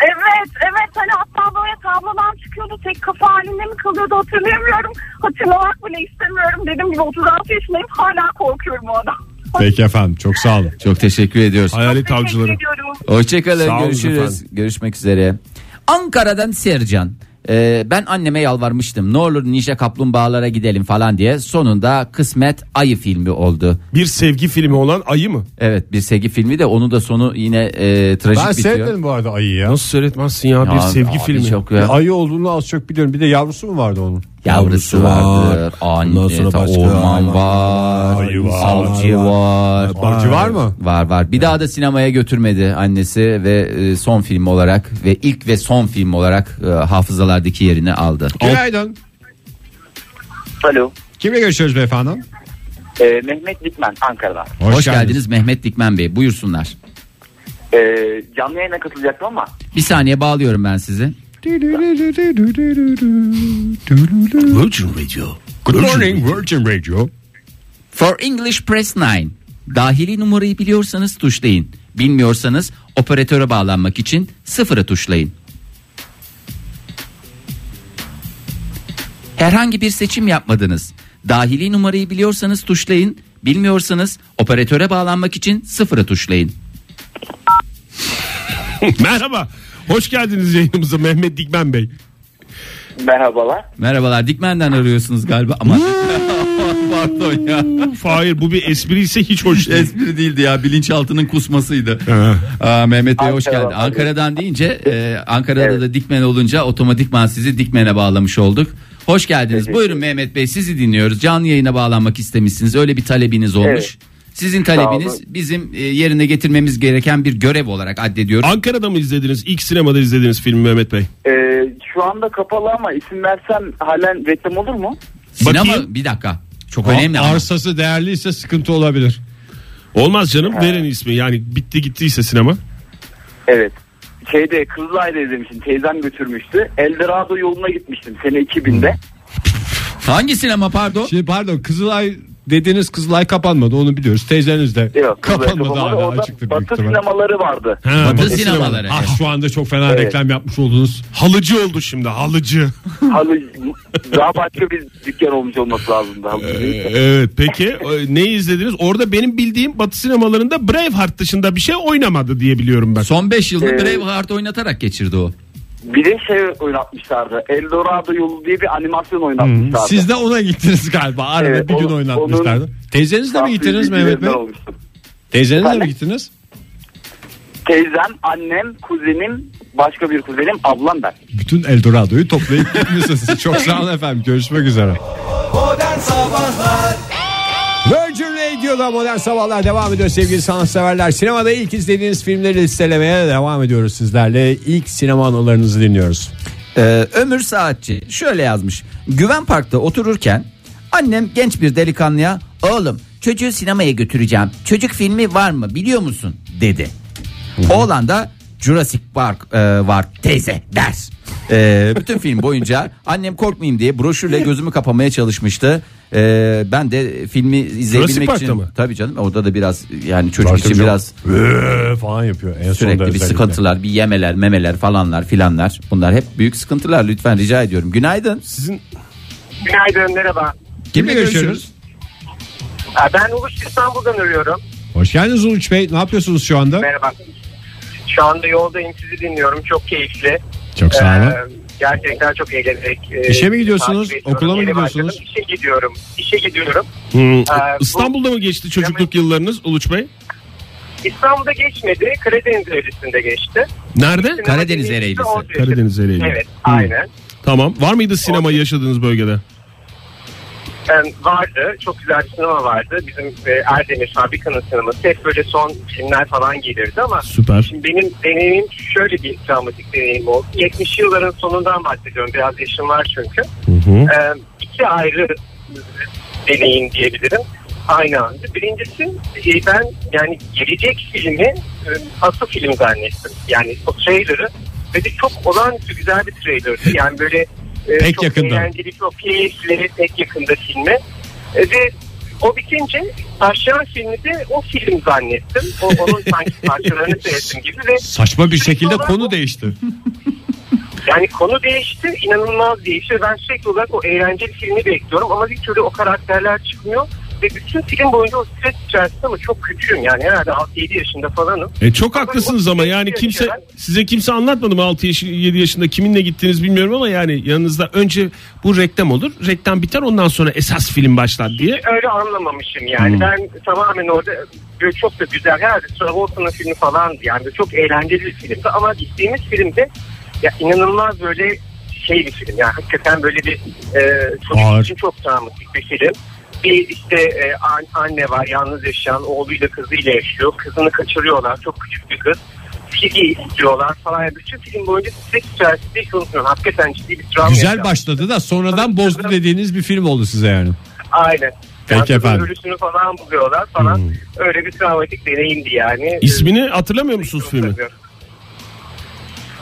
S7: Evet evet hani hatta böyle tablodan çıkıyordu tek kafa halinde mi kalıyordu hatırlayamıyorum. Hatırlamak bile istemiyorum dediğim gibi 36 yaşındayım hala korkuyorum o adam.
S3: Peki efendim çok sağ olun.
S5: Çok teşekkür ediyoruz.
S4: Hayalet avcıları.
S7: Teşekkür ediyorum.
S5: Hoşçakalın
S4: Sağ olun
S5: görüşürüz.
S4: efendim.
S5: Görüşmek üzere. Ankara'dan Sercan. Ee, ben anneme yalvarmıştım. Ne olur Ninja Kaplumbağalara gidelim falan diye. Sonunda Kısmet Ayı filmi oldu.
S4: Bir sevgi filmi olan Ayı mı?
S5: Evet bir sevgi filmi de onun da sonu yine e, trajik
S3: Ben
S5: bitiyor.
S3: sevmedim bu arada ayıyı ya.
S4: Nasıl seyretmezsin ya, bir
S5: Ya,
S4: sevgi
S5: abi
S4: filmi?
S5: Çok
S3: Bir
S5: ya.
S3: Ayı olduğunu az çok biliyorum. Bir de yavrusu mu vardı onun?
S5: Yavrusu vardır.
S11: Ondan
S5: Anne,
S11: sonra
S5: ta-
S11: başka
S5: orman
S11: hayvan
S5: var.
S3: Ayı var.
S5: Avcı var.
S3: Avcı var mı?
S5: Var var. Bir daha da sinemaya götürmedi annesi ve e, son film olarak ve ilk ve son film olarak e, hafızalardaki yerini aldı.
S3: Günaydın.
S9: Alo.
S3: Kimle görüşüyoruz beyefendi?
S9: Ee, Mehmet Dikmen Ankara'dan.
S5: Hoş, geldiniz. Mehmet Dikmen Bey. Buyursunlar.
S9: Ee, canlı yayına katılacaktım ama
S5: Bir saniye bağlıyorum ben sizi.
S4: Virgin Radio.
S3: Good morning Virgin Radio.
S5: For English Press 9. Dahili numarayı biliyorsanız tuşlayın. Bilmiyorsanız operatöre bağlanmak için sıfırı tuşlayın. Herhangi bir seçim yapmadınız. Dahili numarayı biliyorsanız tuşlayın. Bilmiyorsanız operatöre bağlanmak için sıfırı tuşlayın.
S4: *laughs* Merhaba. Hoş geldiniz yayınımıza Mehmet
S3: *laughs*
S4: Dikmen Bey.
S9: merhabalar.
S5: Merhabalar Dikmen'den arıyorsunuz galiba ama *laughs* pardon ya.
S4: Hayır bu bir espri ise hiç hoş değil.
S5: Espri değildi ya bilinçaltının kusmasıydı. Aa, Mehmet Bey hoş
S9: Ankara'dan
S5: geldin. Ankara'dan deyince e, Ankara'da da dikmen olunca otomatikman sizi dikmene bağlamış olduk. Hoş geldiniz. Buyurun Mehmet Bey sizi dinliyoruz. Canlı yayına bağlanmak istemişsiniz. Öyle bir talebiniz olmuş.
S9: Evet.
S5: Sizin
S9: Sağ
S5: talebiniz bizim e, yerine getirmemiz gereken bir görev olarak addediyoruz.
S4: Ankara'da mı izlediniz? İlk sinemada izlediniz filmi Mehmet Bey.
S9: Ee, şu anda kapalı ama isim versem halen reklam olur mu?
S5: Sinema
S4: bakayım.
S5: bir dakika. Çok önemli. ama.
S3: Arsası değerliyse sıkıntı olabilir. Ee,
S4: Olmaz canım verin ismi yani bitti gittiyse sinema.
S9: Evet. Şeyde Kızılay'da izlemiştim. Teyzem götürmüştü. Eldorado yoluna gitmiştim sene 2000'de.
S5: Hangi sinema pardon?
S3: Şimdi pardon Kızılay Dediğiniz Kızılay kapanmadı onu biliyoruz. Teyzeniz de
S12: Yok,
S3: kapanmadı
S12: Kızılay
S3: hala
S12: Orada
S3: açıktır büyük
S12: Batı
S3: ihtimalle.
S12: sinemaları vardı.
S4: Ha,
S5: Batı
S4: bak-
S5: sinemaları.
S3: Ah şu anda çok fena reklam yapmış oldunuz.
S4: Halıcı oldu
S5: *laughs*
S4: şimdi halıcı.
S12: Halı daha başka bir dükkan olmuş olması lazımdı. Halı
S4: Ee,
S12: değil de.
S4: evet peki e, neyi izlediniz? Orada benim bildiğim Batı sinemalarında Braveheart dışında bir şey oynamadı diye biliyorum ben.
S5: Son 5 yılını
S12: Ee,
S5: Braveheart oynatarak geçirdi o.
S12: Bir de şey oynatmışlardı. Eldorado yolu diye bir animasyon oynatmışlardı.
S3: Hmm, Siz de ona gittiniz galiba. Arada
S12: Evet,
S3: bir gün
S12: onun-
S3: oynatmışlardı.
S12: onun-
S3: Teyzenizle mi
S12: Tahsil
S3: gittiniz
S12: bilgilerini
S3: Mehmet Bey?
S12: almıştım.
S3: Teyzenizle mi
S12: Efendim?
S3: gittiniz?
S12: Teyzem, annem, kuzenim, başka bir kuzenim, ablam ben.
S3: Bütün Eldorado'yu toplayıp gitmişsiniz. Çok sağ olun efendim. Görüşmek üzere. Virgin Radio'da Modern Sabahlar devam ediyor sevgili sanatseverler. Sinemada ilk izlediğiniz filmleri listelemeye devam ediyoruz sizlerle. İlk sinema anılarınızı dinliyoruz.
S5: Ee, Ömür Saatçi şöyle yazmış. Güven Park'ta otururken annem genç bir delikanlıya oğlum çocuğu sinemaya götüreceğim. Çocuk filmi var mı biliyor musun dedi. Oğlan da Jurassic Park e, var teyze der. Ee, bütün film boyunca annem korkmayayım diye broşürle gözümü kapamaya çalışmıştı. Ee, ben de filmi izleyebilmek
S4: Jurassic Park'ta
S5: için
S4: mı?
S5: tabii canım orada da biraz yani çocuk için biraz
S3: "Ee" falan yapıyor. En sonunda
S5: Sürekli bir
S3: özellikle.
S5: sıkıntılar, bir yemeler, memeler falanlar filanlar. Bunlar hep büyük sıkıntılar. Lütfen rica ediyorum. Günaydın.
S2: Günaydın merhaba.
S3: Kimle görüşüyoruz?
S2: Ha, Ben Uluç İstanbul'dan arıyorum.
S3: Hoş geldiniz Uluç Bey. Ne yapıyorsunuz şu anda?
S2: Merhaba. Şu anda yoldayım sizi dinliyorum. Çok keyifli.
S3: Çok sağ olun.
S2: Ee, gerçekten çok eğlenerek. e,
S3: İşe mi gidiyorsunuz?
S2: takip ediyorum.
S3: Okula mı
S2: Yeni
S3: gidiyorsunuz?
S2: başladım. İşe gidiyorum. İşe gidiyorum.
S4: Hmm,
S3: e,
S2: Ee, bu-
S4: İstanbul'da mı geçti çocukluk yıllarınız Uluç Bey?
S2: İstanbul'da geçmedi. Karadeniz Eylesi'nde geçti.
S4: Nerede?
S2: Sinema
S5: Karadeniz
S2: deneyimi
S5: Ereğlisi.
S2: de orada yaşadım.
S4: Karadeniz Ereğlisi.
S2: Evet
S3: Hmm,
S2: aynen.
S4: Tamam. Var mıydı sinema yaşadığınız bölgede?
S2: Yani vardı. Çok güzel bir sinema vardı. Bizim e, Erdemir Fabrika'nın sineması. Hep böyle son filmler falan gelirdi ama
S4: Süper.
S2: Şimdi benim deneyimim şöyle bir travmatik deneyim oldu. 70 yılların sonundan bahsediyorum. Biraz yaşım var çünkü. Ee, iki ayrı deneyim diyebilirim. Aynı anda. Birincisi e, ben yani gelecek filmi e, asıl film zannettim. Yani o trailer'ı ve de çok olağanüstü güzel bir trailer'dı. Yani böyle e,
S3: Pek
S2: çok
S3: yakından.
S2: eğlenceli, çok keyifli, pek yakında filmi. E, ve o bitince başlayan filmi de o film zannettim. O, onun sanki parçalarını seyrettim gibi ve
S3: Saçma bir şekilde
S2: Sonra-
S3: konu değişti.
S2: yani konu değişti, inanılmaz değişti. Ben sürekli olarak o eğlenceli filmi bekliyorum ama bir türlü o karakterler çıkmıyor. Ve bütün film boyunca o stres içerisinde ama çok küçüğüm yani herhalde 6-7 yaşında falanım.
S4: E, çok haklısınız ama yani kimse size kimse anlatmadı mı 6 yaş 7 yaşında kiminle gittiniz bilmiyorum ama yani yanınızda önce bu reklam olur. Reklam biter ondan sonra esas film başlar diye.
S2: Öyle anlamamışım
S3: Hmm.
S2: yani. Ben tamamen orada böyle çok da güzel herhalde Travolta'nın filmi falandı yani çok eğlenceli bir filmdi ama gittiğimiz filmde ya inanılmaz böyle şey bir film yani hakikaten böyle bir e, çocuk
S3: Ağır.
S2: için çok travmatik bir film. Bir işte e, an- anne var yalnız yaşayan oğluyla kızıyla yaşıyor. Kızını kaçırıyorlar çok küçük bir kız. Fili istiyorlar falan. Yani Bütün film boyunca stres içerisinde hiç unutmuyorum. şey Hakikaten ciddi bir travma.
S3: Güzel
S2: yaşadım.
S3: başladı da sonradan bozdu dediğiniz bir film oldu size yani.
S2: Aynen.
S3: Peki
S2: Yani kızın
S3: efendim.
S2: Ölüsünü falan buluyorlar falan.
S5: Hmm.
S2: Öyle bir travmatik deneyimdi yani.
S4: İsmini hatırlamıyor musunuz filmin?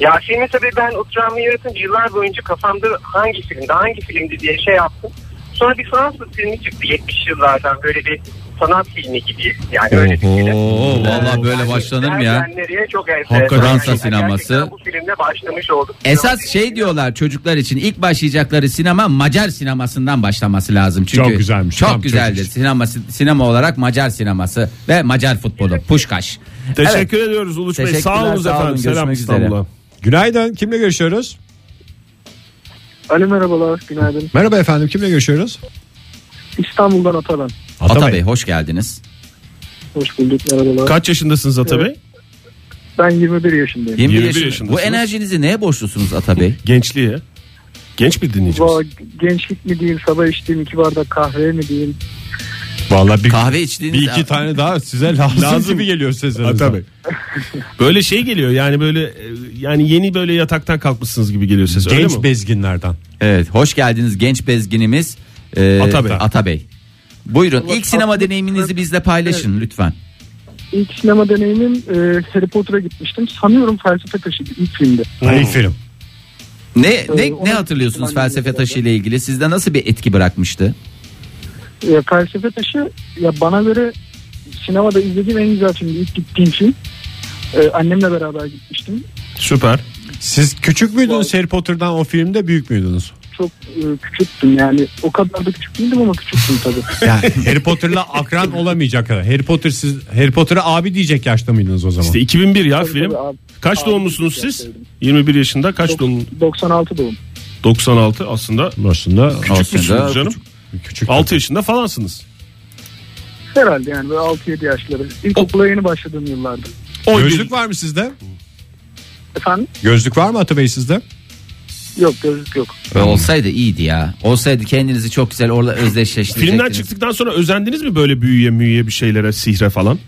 S2: Ya filmi tabii ben o travmayı yaratınca yıllar boyunca kafamda hangi filmdi hangi filmdi diye şey yaptım. Sonra bir Fransız filmi çıktı 70 yıllardan böyle bir sanat filmi gibi yani öyle bir şey film.
S5: Oo vallahi böyle
S2: Yani
S5: başlanır mı ya?
S2: nereden nereye çok
S5: Hakikaten
S2: enteresan.
S5: Fransa
S2: Yani
S5: sineması.
S2: gerçekten Bu filmle başlamış olduk.
S5: Esas şey diyorlar çocuklar için ilk başlayacakları sinema Macar sinemasından başlaması lazım. Çünkü
S3: Çok güzelmiş.
S5: Çok
S3: Tam
S5: güzeldir.
S3: çocuk
S5: Sinema, sinema olarak Macar sineması ve Macar futbolu. Puşkaş.
S4: Teşekkür ediyoruz Uluç Bey.
S5: Teşekkürler,
S4: Sağ olun
S5: sağ olun.
S4: efendim. Selam
S5: Görüşmek üzere.
S4: İstanbul'a.
S3: Günaydın. Kimle görüşüyoruz?
S2: Ali merhabalar günaydın.
S3: Merhaba efendim. Kimle görüşüyoruz?
S2: İstanbul'dan Atalan.
S5: Ata, Bey hoş geldiniz.
S2: Hoş bulduk merhabalar.
S4: Kaç yaşındasınız Ata Bey?
S2: Ben 21 yaşındayım.
S5: 21,
S4: 21
S5: yaşında-
S4: yaşındasınız.
S5: Bu enerjinizi neye borçlusunuz Ata Bey?
S4: Gençliğe. Genç bir dinleyicimiz.
S2: Va- gençlik mi diyeyim sabah içtiğim iki bardak kahve mi diyeyim
S3: Vallahi bir,
S5: Kahve içtiğiniz
S3: bir iki tane daha size lazım,
S4: Lazım.
S3: gibi geliyor seslerinizden.
S4: Ha, tabii. böyle şey geliyor yani böyle e, yani yeni böyle yataktan kalkmışsınız gibi geliyor ses öyle
S3: Genç
S4: mi?
S3: bezginlerden.
S5: Evet, hoş geldiniz genç bezginimiz e,
S4: Atabey.
S5: Atabey. Buyurun
S2: Allah-
S5: ilk sinema
S2: aslında-
S5: deneyiminizi bizle paylaşın lütfen.
S2: İlk sinema deneyimim e, Harry Potter'a gitmiştim. Sanıyorum felsefe taşıydı ilk filmde.
S3: Hayır film.
S5: Ne ne,
S2: ona-
S5: ne hatırlıyorsunuz
S2: ona-
S5: felsefe taşı ile ilgili? Sizde nasıl bir etki bırakmıştı?
S6: Ya, E, felsefe taşı ya bana göre sinemada izlediğim en güzel filmdi. İlk gittiğim film. Ee, annemle beraber gitmiştim.
S4: Süper.
S3: Siz küçük müydünüz Harry Potter'dan o filmde büyük müydünüz?
S6: Çok e, küçüktüm yani. O kadar da küçük değildim ama küçüktüm tabii.
S3: Yani *laughs* Harry Potter'la akran olamayacak kadar. Harry Potter siz Harry Potter'a abi diyecek yaşta mıydınız o zaman?
S4: İşte 2001 ya film.
S6: tabii abi.
S4: Kaç
S6: Abi,
S4: doğumlusunuz
S6: bir
S4: siz?
S6: şey
S4: 21 yaşında kaç doğumlu?
S6: 96 doğum.
S4: 96 aslında
S3: aslında
S4: küçük müsünüz canım?
S3: küçük.
S4: 6 yaşında falansınız.
S6: Herhalde yani böyle 6-7 yaşları. İlkokula yeni başladığım yıllarda.
S4: Oy
S3: Gözlük var mı sizde?
S6: Efendim?
S3: Gözlük var mı Atabey sizde?
S6: Yok gözlük yok.
S5: Ve olsaydı iyiydi ya. Olsaydı kendinizi çok güzel orada
S4: bir-
S5: özdeşleştirecektiniz.
S4: Filmden çıktıktan sonra özendiniz mi böyle büyüye müyüye bir şeylere sihre falan?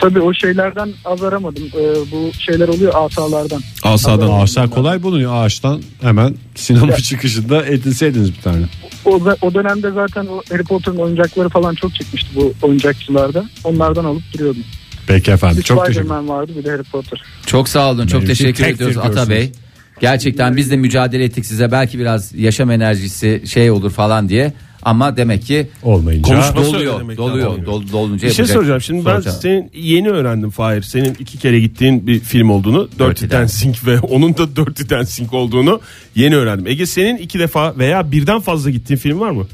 S6: Tabii o şeylerden az aramadım. Ee, bu şeyler oluyor asalardan.
S4: Asadan.
S3: Ağaçlar kolay bulunuyor. Ağaçtan hemen sinema çıkışında edinseydiniz bir tane.
S6: O, da- o dönemde zaten o Harry Potter'ın oyuncakları falan çok çıkmıştı bu oyuncakçılarda. Onlardan alıp duruyordum.
S3: Peki efendim.
S6: Bir
S3: Çok teşekkür
S6: Spider-Man vardı bir de Harry Potter.
S5: Çok sağ olun. Çok
S3: Benim için
S5: teşekkür
S3: tek
S5: ediyoruz
S3: tek
S5: Ata
S3: görsünüz.
S5: Bey. Gerçekten biz de mücadele ettik size. Belki biraz yaşam enerjisi şey olur falan diye. Ama demek ki
S3: Olmayınca.
S4: Konuşma- Nasıl öyle
S5: doluyor.
S4: demek
S5: Doluyor.
S4: yani?
S5: Dol, dolunca
S4: Bir şey
S5: yapacak.
S4: soracağım. Şimdi ben
S5: Soracağım.
S4: senin yeni öğrendim Fahir. Senin iki kere gittiğin bir film olduğunu. Dirty
S5: Dancing.
S4: Dancing ve onun da Dirty Dancing olduğunu yeni öğrendim. Ege senin iki defa veya birden fazla gittiğin film var mı?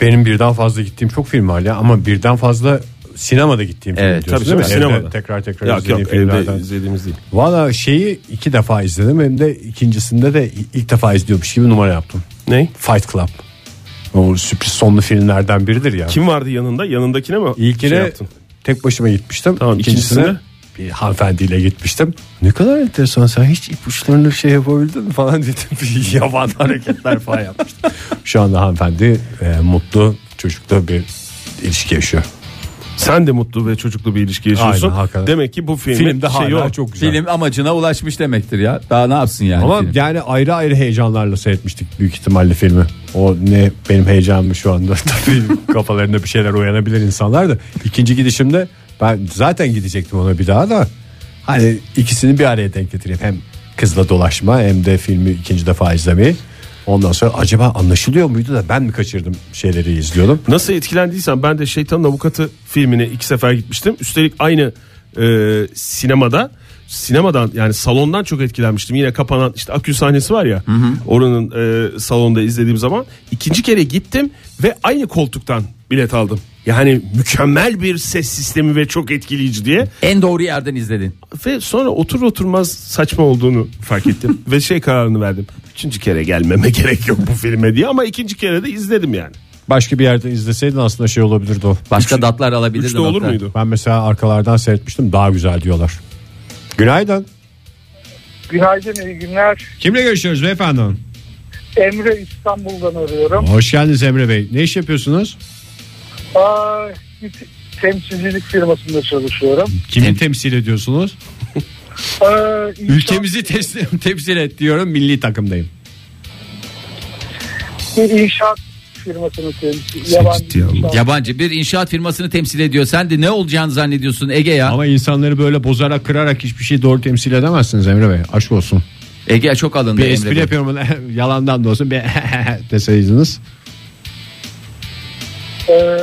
S3: Benim birden fazla gittiğim çok film var ya ama birden fazla sinemada gittiğim
S5: Evet,
S3: film diyorsun
S4: tabii
S3: değil mi?
S4: tabii,
S3: Evde
S4: sinemada.
S3: tekrar tekrar
S4: Yok
S3: izlediğim
S4: yok
S3: filmlerden.
S4: evde izlediğimiz değil.
S3: Valla şeyi iki defa izledim hem de ikincisinde de ilk defa izliyormuş gibi numara yaptım.
S4: Ne?
S3: Fight Club. O sürpriz sonlu filmlerden biridir ya.
S4: Kim vardı yanında? Yanındakine mi?
S3: İlkine
S4: şey yaptın?
S3: tek başıma gitmiştim.
S4: Tamam,
S3: İkincisine
S4: ikincisine?
S3: bir hanımefendiyle gitmiştim. Ne kadar enteresan sen hiç ipuçlarını şey yapabildin mi falan *laughs* dedim. Bir Yaban hareketler falan yapmıştım. Şu anda hanımefendi e, mutlu çocukta bir ilişki yaşıyor.
S4: Sen de mutlu ve çocuklu bir ilişki yaşıyorsun.
S3: Aynen, hakikaten.
S4: Demek ki bu filmin
S3: Filmde
S4: şeyi
S3: hala
S4: o.
S3: çok güzel.
S5: Şey Film amacına ulaşmış demektir ya. Daha ne yapsın yani?
S3: Ama
S5: film?
S3: yani ayrı ayrı heyecanlarla seyretmiştik büyük ihtimalle filmi. O ne benim heyecanım şu anda. *laughs* Tabii kafalarında bir şeyler uyanabilir insanlar da. İkinci gidişimde ben zaten gidecektim ona bir daha da. Hani ikisini bir araya denk getireyim. Hem kızla dolaşma hem de filmi ikinci defa izlemeyi. Ondan sonra acaba anlaşılıyor muydu da ben mi kaçırdım şeyleri izliyordum.
S4: Nasıl etkilendiysen ben de Şeytanın Avukatı filmine iki sefer gitmiştim. Üstelik aynı e, sinemada sinemadan yani salondan çok etkilenmiştim. Yine kapanan işte akü sahnesi var ya. Oranın e, salonda izlediğim zaman ikinci kere gittim ve aynı koltuktan bilet aldım. Yani mükemmel bir ses sistemi ve çok etkileyici diye.
S5: En doğru yerden izledin.
S4: Ve sonra otur oturmaz saçma olduğunu fark ettim. ve şey kararını verdim. Üçüncü kere gelmeme *laughs* gerek yok bu filme diye ama ikinci kere de izledim yani.
S3: Başka bir yerde izleseydin aslında şey olabilirdi o.
S5: Başka datlar alabilirdin.
S4: Üçte olur
S5: Oktay.
S4: muydu?
S3: Ben mesela arkalardan seyretmiştim daha güzel diyorlar. Günaydın.
S6: Günaydın iyi günler.
S3: Kimle görüşüyoruz beyefendi?
S6: Emre İstanbul'dan arıyorum.
S3: Hoş geldiniz Emre Bey. Ne iş yapıyorsunuz?
S6: Aa, bir te- temsilcilik firmasında çalışıyorum.
S3: Kimi temsil ediyorsunuz?
S6: Aa, insan-
S3: Ülkemizi tes- *laughs* temsil et diyorum. Milli takımdayım.
S6: bir inşaat firmasını temsil yabancı inşaat.
S5: Yabancı bir inşaat firmasını temsil ediyor. Sen de ne olacağını zannediyorsun Ege ya?
S3: Ama insanları böyle bozarak kırarak hiçbir şey doğru temsil edemezsiniz Emre Bey. Aşk olsun.
S5: Ege çok alındı
S3: Bir
S5: Emre
S3: espri
S5: Bey.
S3: yapıyorum. Yalandan da olsun. Bir deseydiniz.
S6: Ee,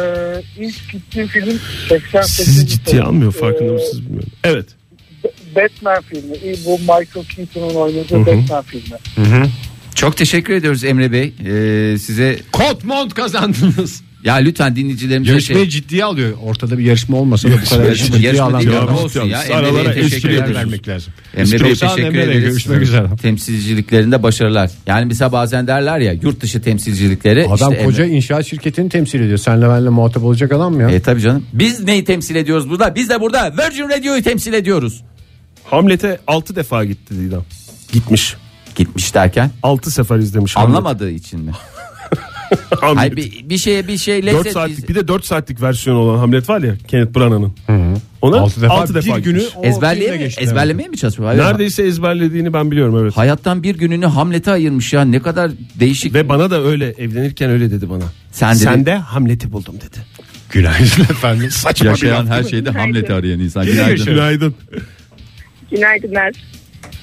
S6: ilk gittiğim film 88.
S4: Sizi ciddiye
S6: Ee,
S4: almıyor farkında mısınız bilmiyorum. Evet.
S6: Batman filmi. Ee, Bu Michael Keaton'un oynadığı Batman filmi.
S5: Çok teşekkür ediyoruz Emre Bey. Ee, size
S3: Kot mont kazandınız.
S5: ya lütfen dinleyicilerimize
S3: Yarışmayı
S5: şey,
S3: ciddiye alıyor. Ortada bir yarışma olmasa da bu kadar
S5: Yarışma-
S3: ciddiye
S5: yarışma
S3: alan
S5: değil,
S3: bir
S5: yarışma
S3: adam.
S5: olsun ya.
S4: Siz
S5: Emre Bey'e
S4: aralara
S5: teşekkür
S3: Eskileri
S5: ederiz.
S3: vermek lazım.
S5: Emre Bey
S3: İstiyorsan
S5: teşekkür
S3: Emre Bey,
S5: ederiz.
S3: Görüşmek üzere.
S5: Temsilciliklerinde başarılar. Yani mesela bazen derler ya yurt dışı temsilcilikleri.
S3: Adam
S5: işte
S3: koca
S5: Emre-
S3: inşaat şirketini temsil ediyor. Senle benle muhatap olacak adam mı ya?
S5: E tabii canım. Biz neyi temsil ediyoruz burada? Biz de burada Virgin Radio'yu temsil ediyoruz.
S4: Hamlet'e 6 defa gitti Didem. Gitmiş.
S5: Gitmiş derken
S4: 6 sefer izlemiş.
S5: anlamadığı için mi?
S4: Hamlet.
S5: Hayır bir, bir şeye bir şey
S4: 4
S5: lezzet.
S4: saatlik bir de 4 saatlik versiyonu olan Hamlet var ya Kenneth Branagh'ın. Ona
S3: Altı
S4: 6
S3: defa
S4: defa,
S3: bir günü
S4: günü
S5: Ezberleye
S3: filmle
S5: mi,
S3: geçti
S5: ezberlemeye mi çalışıyor? Hayır.
S4: neredeyse ezberlediğini ben biliyorum evet.
S5: Hayattan bir gününü Hamlet'e ayırmış ya. Ne kadar değişik.
S4: Ve bana da öyle evlenirken öyle dedi bana.
S5: Sen de-
S4: Sen de Hamlet'i buldum dedi.
S3: Günaydın efendim. Saçma
S5: Yaşayan her şeyde Hamlet'i arayan insan. Günaydın.
S4: Günaydın.
S1: Günaydınlar.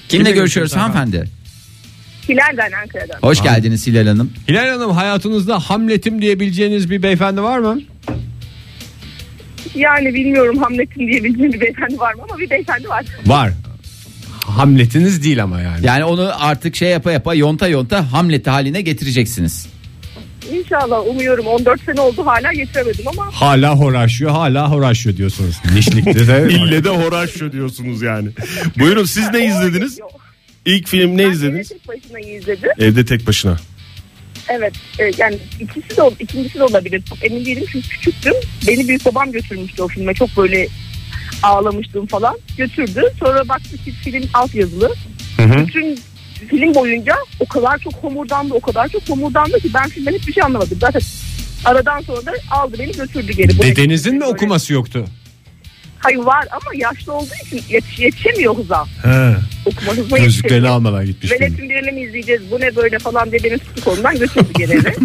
S5: Kimle görüşüyoruz hanımefendi?
S1: Hilal'den Ankara'dan.
S5: Hoş geldiniz Hilal Hanım.
S3: Hilal Hanım hayatınızda Hamlet'im diyebileceğiniz bir beyefendi var mı?
S1: Yani bilmiyorum Hamlet'in diyebileceğim bir beyefendi var mı ama bir beyefendi var.
S3: Var. Hamlet'iniz değil ama yani.
S5: Yani onu artık şey yapa yapa yonta yonta Hamlet haline getireceksiniz.
S1: İnşallah umuyorum 14 sene oldu hala getiremedim ama
S3: Hala horaşıyor hala horaşıyor diyorsunuz. Nişlikte
S4: *laughs*
S3: de.
S4: İlle de Horatio diyorsunuz yani. Buyurun siz ne izlediniz?
S1: Yok.
S4: İlk film ne
S1: Ben
S4: izlediniz?
S1: tek başına izledim.
S4: Evde tek başına.
S1: Evet e, yani ikisi de ol- ikincisi de olabilir. Çok emin değilim çünkü küçüktüm. Beni büyük babam götürmüştü o filme. Çok böyle ağlamıştım falan. Götürdü. Sonra baktık ki film altyazılı. Bütün film boyunca o kadar çok homurdandı, o kadar çok homurdandı ki ben filmden hiçbir şey anlamadım. Zaten aradan sonra da aldı beni götürdü geri. Buraya
S3: Dedenizin mi
S1: götürdü. Böyle-
S3: okuması yoktu?
S1: Hayır var ama yaşlı olduğu için yetiş, yetişemiyor hıza.
S3: He.
S1: Okuma hızına
S3: Gözlüklerini
S1: yetişemiyor.
S3: almadan gitmiş. film.
S1: Veletin birini mi izleyeceğiz bu ne böyle falan diye beni tuttu kolundan götürdü geri
S3: *laughs*
S1: eve.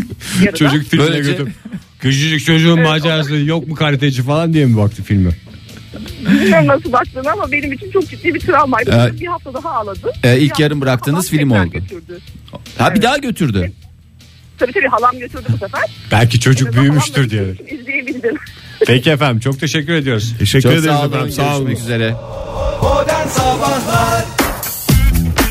S1: Yarıda.
S3: Çocuk filmine
S5: Böylece-
S3: götür. Küçücük çocuğun macerası yok mu karateci falan diye mi baktı filme?
S1: Bilmiyorum nasıl baktığını ama benim için çok ciddi bir travmaydı.
S5: Ee,
S1: bir hafta daha ağladı.
S5: e,
S1: Bir
S5: ilk
S1: hafta
S5: yarım
S1: daha
S5: bıraktığınız
S1: halam
S5: film
S1: tekrar
S5: oldu.
S1: Götürdü.
S5: Ha bir daha götürdü.
S1: Tabii tabii halam götürdü bu sefer.
S3: Belki
S1: En
S3: çocuk
S1: azından
S3: büyümüştür
S1: halamla
S3: diye.
S1: bütün İzleyebildim.
S3: Peki efendim çok teşekkür ediyoruz.
S4: Teşekkür
S5: Çok
S4: ederiz
S5: sağ olun.
S4: efendim. Sağ olun.
S5: Görüşmek
S4: *laughs*
S5: üzere.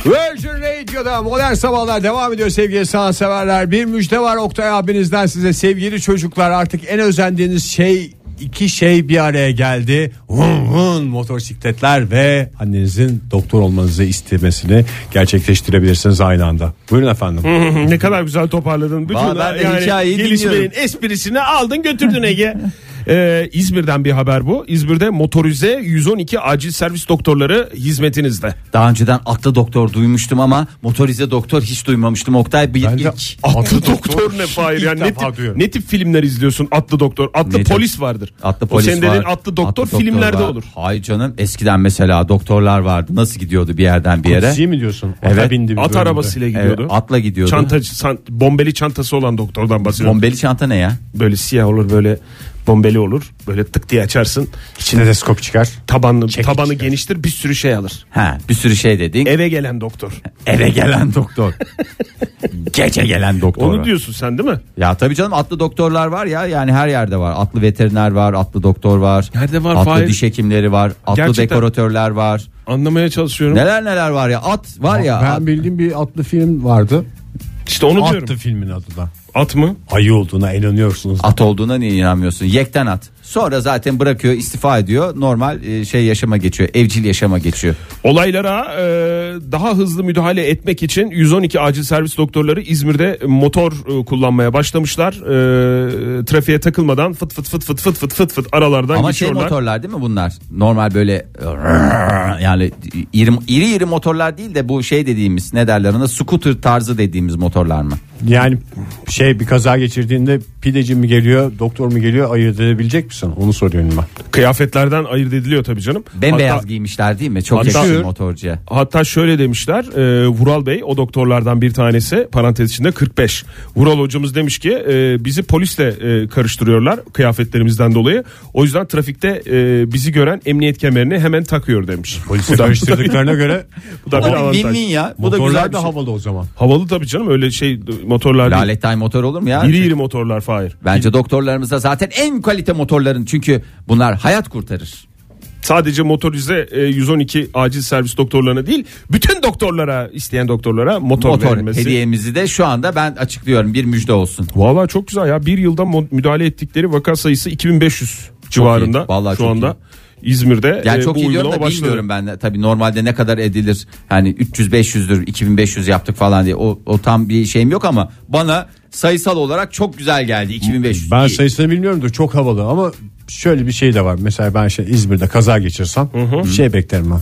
S3: Virgin Radio'da modern sabahlar devam ediyor sevgili sanatseverler. Bir müjde var Oktay abinizden size sevgili çocuklar artık en özendiğiniz şey iki şey bir araya geldi. Vın vın motosikletler ve annenizin doktor olmanızı istemesini gerçekleştirebilirsiniz aynı anda. Buyurun efendim.
S4: ne kadar güzel toparladın. Bütün
S5: Vallahi ben de
S4: yani
S5: hikayeyi
S4: gelişmenin
S5: dinliyorum.
S4: esprisini aldın
S5: *laughs*
S4: götürdün Ege. Ee, İzmir'den bir haber bu. İzmir'de motorize 112 acil servis doktorları hizmetinizde.
S5: Daha önceden atlı doktor duymuştum ama motorize doktor hiç duymamıştım. Oktay bir
S3: Ben de
S5: ilk.
S4: Atlı doktor ne Fahir ya
S3: İlk
S4: ne
S3: defa
S4: tip,
S3: duyuyorum.
S4: ne tip filmler izliyorsun atlı doktor atlı
S5: Ne tip?
S4: polis vardır
S5: Atlı
S4: o
S5: polis
S4: senin dediğin
S5: var.
S4: atlı doktor
S5: Atlı
S4: filmlerde
S5: var.
S4: olur
S5: Hayır canım eskiden mesela doktorlar vardı. Nasıl gidiyordu bir yerden bir yere?
S3: Kutsi mi diyorsun?
S5: Evet.
S3: bir
S4: at
S3: bölümde.
S4: arabasıyla
S5: Evet,
S4: gidiyordu
S5: atla gidiyordu.
S4: çantacı san- bombeli çantası olan doktordan bahsediyorum
S5: Bombeli çanta ne ya?
S4: böyle siyah olur böyle bombeli olur böyle tık diye açarsın
S3: Stetoskop çıkar.
S4: tabanlı
S3: Çekiç
S4: tabanı
S3: çıkar.
S4: geniştir bir sürü şey alır
S5: Ha, bir sürü şey dedin.
S4: eve gelen doktor
S5: Eve gelen
S4: *laughs*
S5: doktor. Gece gelen doktor.
S4: onu diyorsun sen değil mi
S5: Ya tabii canım atlı doktorlar var ya yani her yerde var. Atlı veteriner var, atlı doktor var.
S4: Nerede var,
S5: Atlı
S4: Fahir?
S5: diş hekimleri var, atlı
S4: Gerçekten.
S5: dekoratörler var.
S4: anlamaya çalışıyorum
S5: Neler neler var ya at var ya. at-
S3: Ben bildiğim bir atlı film vardı.
S4: işte onu
S3: Attı
S4: diyorum
S3: filmin adı da.
S4: at mı
S3: Ayı olduğuna inanıyorsunuz.
S5: At olduğuna niye inanmıyorsun? Yekten at. Sonra zaten bırakıyor, istifa ediyor. Normal e, şey yaşama geçiyor. Evcil yaşama geçiyor.
S4: Olaylara e, daha hızlı müdahale etmek için 112 acil servis doktorları İzmir'de motor e, kullanmaya başlamışlar. E, trafiğe takılmadan fıt fıt fıt fıt fıt fıt fıt fıt aralardan
S5: Ama şey
S4: geçiyorlar.
S5: motorlar değil mi bunlar? Normal böyle yani iri, iri iri motorlar değil de bu şey dediğimiz ne derler ona scooter tarzı dediğimiz motorlar mı?
S3: Yani şey bir kaza geçirdiğinde pideci mi geliyor doktor mu geliyor ayırt edebilecek misin? Onu soruyorum ben.
S4: Kıyafetlerden ayırt ediliyor tabii canım.
S5: Bembeyaz
S4: Hatta-
S5: giymişler değil mi? Çok
S4: Hatta-
S5: yakışıyor motorcuya.
S4: Hatta şöyle demişler e, Vural Bey o doktorlardan bir tanesi parantez içinde 45. Vural hocamız demiş ki e, bizi polisle e, karıştırıyorlar kıyafetlerimizden dolayı. O yüzden trafikte e, bizi gören emniyet kemerini hemen takıyor demiş.
S3: Polise karıştırdıklarına göre
S4: *laughs* Bu da bir avantaj.
S5: Win-win ya. Bu da
S3: motorlar
S5: güzel bir
S3: da
S5: şey.
S3: havalı o zaman.
S4: Havalı tabii canım öyle şey motorlar değil.
S5: Lalet tay motor olur mu ya?
S4: İri iri motorlar Fahir.
S5: Bence doktorlarımızda zaten en kalite motorların çünkü bunlar hayat kurtarır.
S4: Sadece motorize e, 112 acil servis doktorlarına değil bütün doktorlara isteyen doktorlara motor,
S5: Motor
S4: verilmesi.
S5: hediyemizi de şu anda ben açıklıyorum bir müjde olsun.
S4: Valla çok güzel ya bir yılda mo- müdahale ettikleri vaka sayısı 2500 civarında
S5: iyi. Vallahi
S4: şu
S5: çok
S4: anda. İzmir'de
S5: Yani
S4: e,
S5: çok
S4: bu
S5: iyi diyorum
S4: uygulama
S5: da
S4: başladı.
S5: bilmiyorum ben de. Tabii normalde ne kadar edilir? Hani 300-500'dür, 2500 yaptık falan diye. O, o tam bir şeyim yok ama bana sayısal olarak çok güzel geldi 2500.
S3: Ben
S5: İyi.
S3: sayısını bilmiyorum da çok havalı ama şöyle bir şey de var. Mesela ben şey İzmir'de kaza geçirsem bir şey beklerim ben.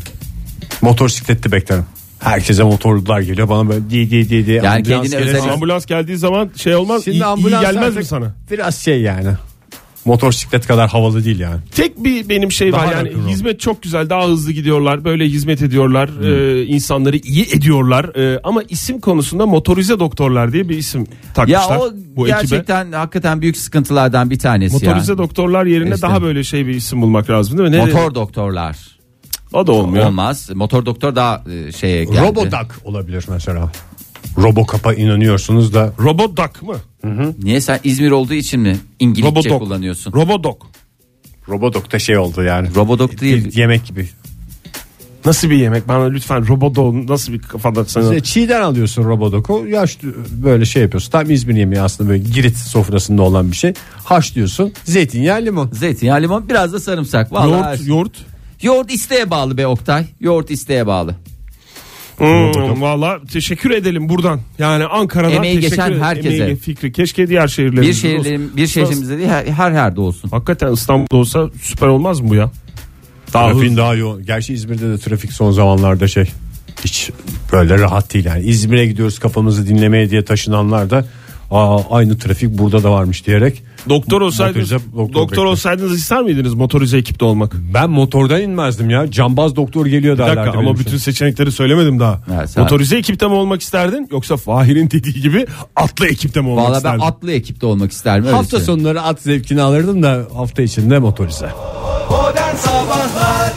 S3: Motosikletli beklerim. Herkese motorlular geliyor bana böyle diye diye diye diye.
S5: Yani
S3: ambulans
S5: kendine
S3: gelir.
S5: özel-
S3: Ama
S4: Ambulans geldiği zaman şey olmaz iyi, iyi
S3: ambulans
S4: gelmez mi
S3: artık
S4: sana?
S3: Biraz şey yani. Motosiklet kadar havalı değil yani.
S4: Tek bir benim şey
S3: Daha
S4: var yani
S3: rock'n'roll.
S4: hizmet çok güzel daha hızlı gidiyorlar böyle hizmet ediyorlar e, insanları iyi ediyorlar e, ama isim konusunda motorize doktorlar diye bir isim takmışlar
S5: ya o
S4: bu ekibe.
S5: gerçekten hakikaten büyük sıkıntılardan bir tanesi
S4: Motorize
S5: ya.
S4: doktorlar yerine
S5: İşte.
S4: daha böyle şey bir isim bulmak lazım değil mi? Ne-
S5: Motor doktorlar.
S4: O da olmuyor.
S5: Olmaz. Motor doktor daha e, şeye geldi.
S3: Robodak olabilir mesela. Robocop'a inanıyorsunuz da
S4: Robodak mı?
S5: Niye sen İzmir olduğu için mi İngilizce
S4: Robodoc.
S5: kullanıyorsun?
S4: Robodok.
S3: Robodoc da şey oldu yani.
S5: Robodoc değil.
S3: Yemek gibi.
S4: Nasıl bir yemek? Bana lütfen Robodok nasıl bir kafada sana?
S3: Size çiğden alıyorsun Robodoc'u. Yaş böyle şey yapıyorsun. Tam İzmir yemeği aslında böyle girit sofrasında olan bir şey. Haşlıyorsun. Zeytinyağı limon.
S5: Zeytinyağı, limon, biraz da sarımsak. Vallahi
S4: Yoğurt,
S5: yoğurt,
S4: yoğurt.
S5: isteğe bağlı be Oktay. Yoğurt isteğe bağlı.
S4: Hmm, Valla teşekkür edelim buradan. Yani Ankara'dan
S5: Emeği
S4: teşekkür
S5: geçen
S4: ed-
S5: herkese.
S4: Emeği, fikri. Keşke diğer şehirlerimizde
S5: Bir şehirlerim,
S4: olsa.
S5: bir şehrimizde değil her, her yerde olsun.
S4: Hakikaten İstanbul'da olsa süper olmaz mı bu ya? Daha
S3: Trafiğin daha yoğun. Gerçi İzmir'de de trafik son zamanlarda şey hiç böyle rahat değil yani. İzmir'e gidiyoruz kafamızı dinlemeye diye taşınanlar da Aa, aynı trafik burada da varmış diyerek.
S4: Doktor olsaydınız,
S3: Motorize- doktor
S4: doktor,
S3: bekliyor.
S4: olsaydınız ister miydiniz motorize ekipte olmak?
S3: Ben motordan inmezdim ya. Cambaz doktor geliyor
S4: Bir
S3: derlerdi.
S4: dakika
S3: benim
S4: ama
S3: için.
S4: bütün seçenekleri söylemedim daha.
S5: Evet, sen-
S4: motorize ekipte mi olmak isterdin yoksa Fahir'in dediği gibi atlı ekipte mi olmak
S5: Vallahi ben
S4: isterdin?
S5: atlı ekipte olmak isterim. öyle
S3: hafta
S5: söyleyeyim.
S3: sonları at zevkini alırdım da hafta içinde motorize.
S8: Modern Sabahlar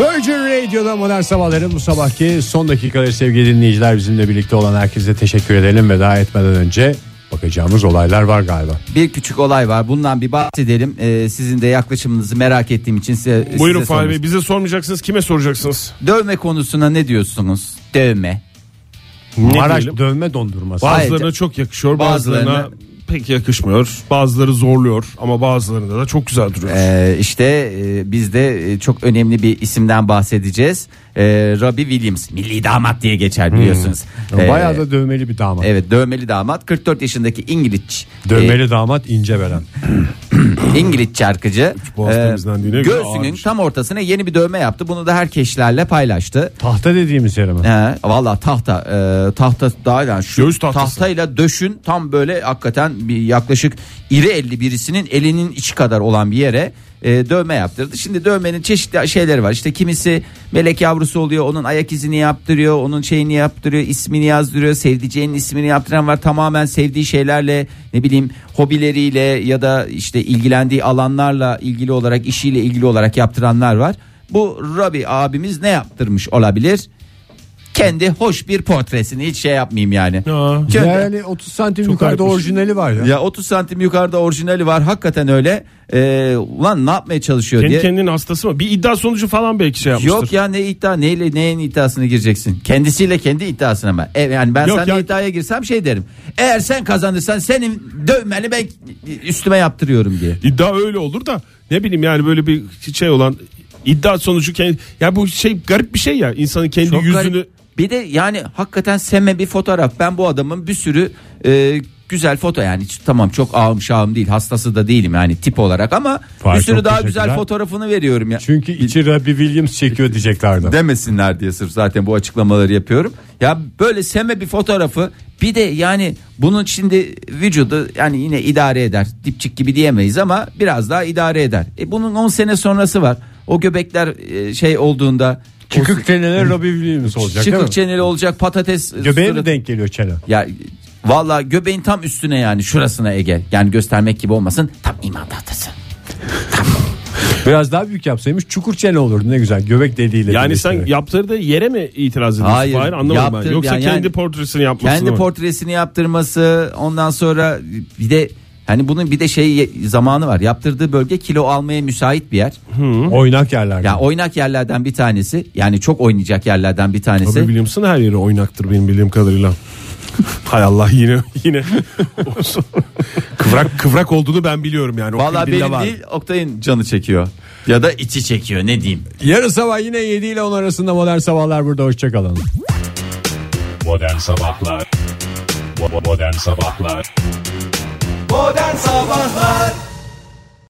S3: Virgin Radio'da modern sabahların bu sabahki son dakikaları sevgili dinleyiciler bizimle birlikte olan herkese teşekkür edelim. Veda etmeden önce bakacağımız olaylar var galiba.
S5: Bir küçük olay var. Bundan bir bahsedelim. Ee, sizin de yaklaşımınızı merak ettiğim için size
S4: Buyurun
S5: size
S4: Fahir
S5: sormak
S4: Bey bize sormayacaksınız kime soracaksınız?
S5: Dövme konusuna ne diyorsunuz? Dövme.
S4: Ne
S3: Maraş
S4: diyelim?
S3: dövme dondurması.
S5: Vay-
S4: Bazılarına
S5: Hayır,
S4: çok yakışıyor
S5: bazılarına-
S4: bazılarına, pek yakışmıyor. Bazıları zorluyor ama bazılarında da çok güzel duruyor.
S5: Ee, işte e, biz de e, çok önemli bir isimden bahsedeceğiz. Ee, Robbie Williams. Milli damat diye geçer biliyorsunuz. Ee,
S3: Hmm. Bayağı da dövmeli bir damat.
S5: Evet dövmeli damat 44 yaşındaki İngiliz
S3: Dövmeli damat ince veren.
S5: e, İngiliz şarkıcı Ee,
S4: boğaz temizlendiğine göre
S5: göğsünün
S4: ağırmış.
S5: tam ortasına yeni bir dövme yaptı. Bunu da herkeşlerle paylaştı.
S3: Tahta dediğimiz yere mi?
S5: He, Valla tahta e, tahta daha yani şu
S4: Göğüs tahtası.
S5: tahtayla döşün tam böyle hakikaten bir yaklaşık iri elli birisinin elinin içi kadar olan bir yere e, dövme yaptırdı. Şimdi dövmenin çeşitli şeyleri var. İşte kimisi melek yavrusu oluyor. Onun ayak izini yaptırıyor. Onun şeyini yaptırıyor. ismini yazdırıyor. Sevdiceğinin ismini yaptıran var. Tamamen sevdiği şeylerle ne bileyim hobileriyle ya da işte ilgilendiği alanlarla ilgili olarak işiyle ilgili olarak yaptıranlar var. Bu Rabi abimiz ne yaptırmış olabilir? kendi hoş bir portresini hiç şey yapmayayım yani.
S4: Aa.
S5: Kendi-
S3: Yani 30 santim yukarıda
S4: ayıpmış.
S3: orijinali var ya.
S5: ya 30 santim yukarıda orijinali var hakikaten öyle. Ee, ulan ne yapmaya çalışıyor
S4: Kendi
S5: diye.
S4: kendinin hastası mı? Bir iddia sonucu falan belki şey yapmıştır.
S5: Yok ya ne iddia neyle neyin iddiasına gireceksin? Kendisiyle kendi iddiasına mı? E, yani ben
S4: Yok
S5: seninle
S4: ya.
S5: iddiaya girsem şey derim. Eğer sen kazanırsan senin dövmeni ben üstüme yaptırıyorum diye.
S4: İddia öyle olur da ne bileyim yani böyle bir şey olan iddia sonucu kendi ya bu şey garip bir şey ya insanın kendi
S5: Çok
S4: yüzünü
S5: garip. Bir de yani hakikaten semme bir fotoğraf. Ben bu adamın bir sürü e, güzel foto yani hiç- tamam çok ağım şağım değil hastası da değilim yani tip olarak ama
S3: Fahir,
S5: bir sürü
S3: çok
S5: daha
S3: teşekkürler.
S5: güzel fotoğrafını veriyorum ya.
S3: Çünkü içi Robbie Williams çekiyor diyeceklerdi.
S5: demesinler diye sırf zaten bu açıklamaları yapıyorum. Ya böyle seme bir fotoğrafı bir de yani bunun şimdi vücudu yani yine idare eder. Dipçik gibi diyemeyiz ama biraz daha idare eder. E bunun 10 sene sonrası var. O göbekler e, şey olduğunda
S3: Çıkık çeneli Robbie Williams olacak değil mi?
S5: çıkık çeneli olacak patates e,
S3: Göbeğe mi
S5: suratı-
S3: denk geliyor çene?
S5: ya valla göbeğin tam üstüne yani şurasına Ege. Yani göstermek gibi olmasın. Tam iman tahtası.
S3: Biraz daha büyük yapsaymış çukur çene olurdu ne güzel. Göbek deliğiyle.
S4: yani
S3: birleştirerek.
S4: sen yaptırdığı yere mi itiraz ediyorsun?
S5: Hayır,
S4: Hayır, anlamadım
S5: yaptır-
S4: ben. Yoksa
S5: yani-
S4: kendi portresini yapmasını
S5: Kendi
S4: mı?
S5: portresini yaptırması ondan sonra bir de hani bunun bir de şey zamanı var. Yaptırdığı bölge kilo almaya müsait bir yer.
S3: Oynak yerlerde.
S5: Ya oynak yerlerden bir tanesi. Yani çok oynayacak yerlerden bir tanesi.
S4: Robbie Williams'ın her yeri oynaktır benim bildiğim kadarıyla. *laughs* Hay Allah yine yine *laughs* kıvrak kıvrak olduğunu ben biliyorum yani. O
S5: Vallahi
S4: kıvrımda
S5: benim
S4: var.
S5: değil Oktay'ın canı çekiyor. Ya da içi çekiyor ne diyeyim.
S3: Yarın sabah yine 7 ile 10 arasında modern sabahlar burada hoşçakalın.
S13: Modern Sabahlar Bo- bo- Modern Sabahlar
S8: Modern Sabahlar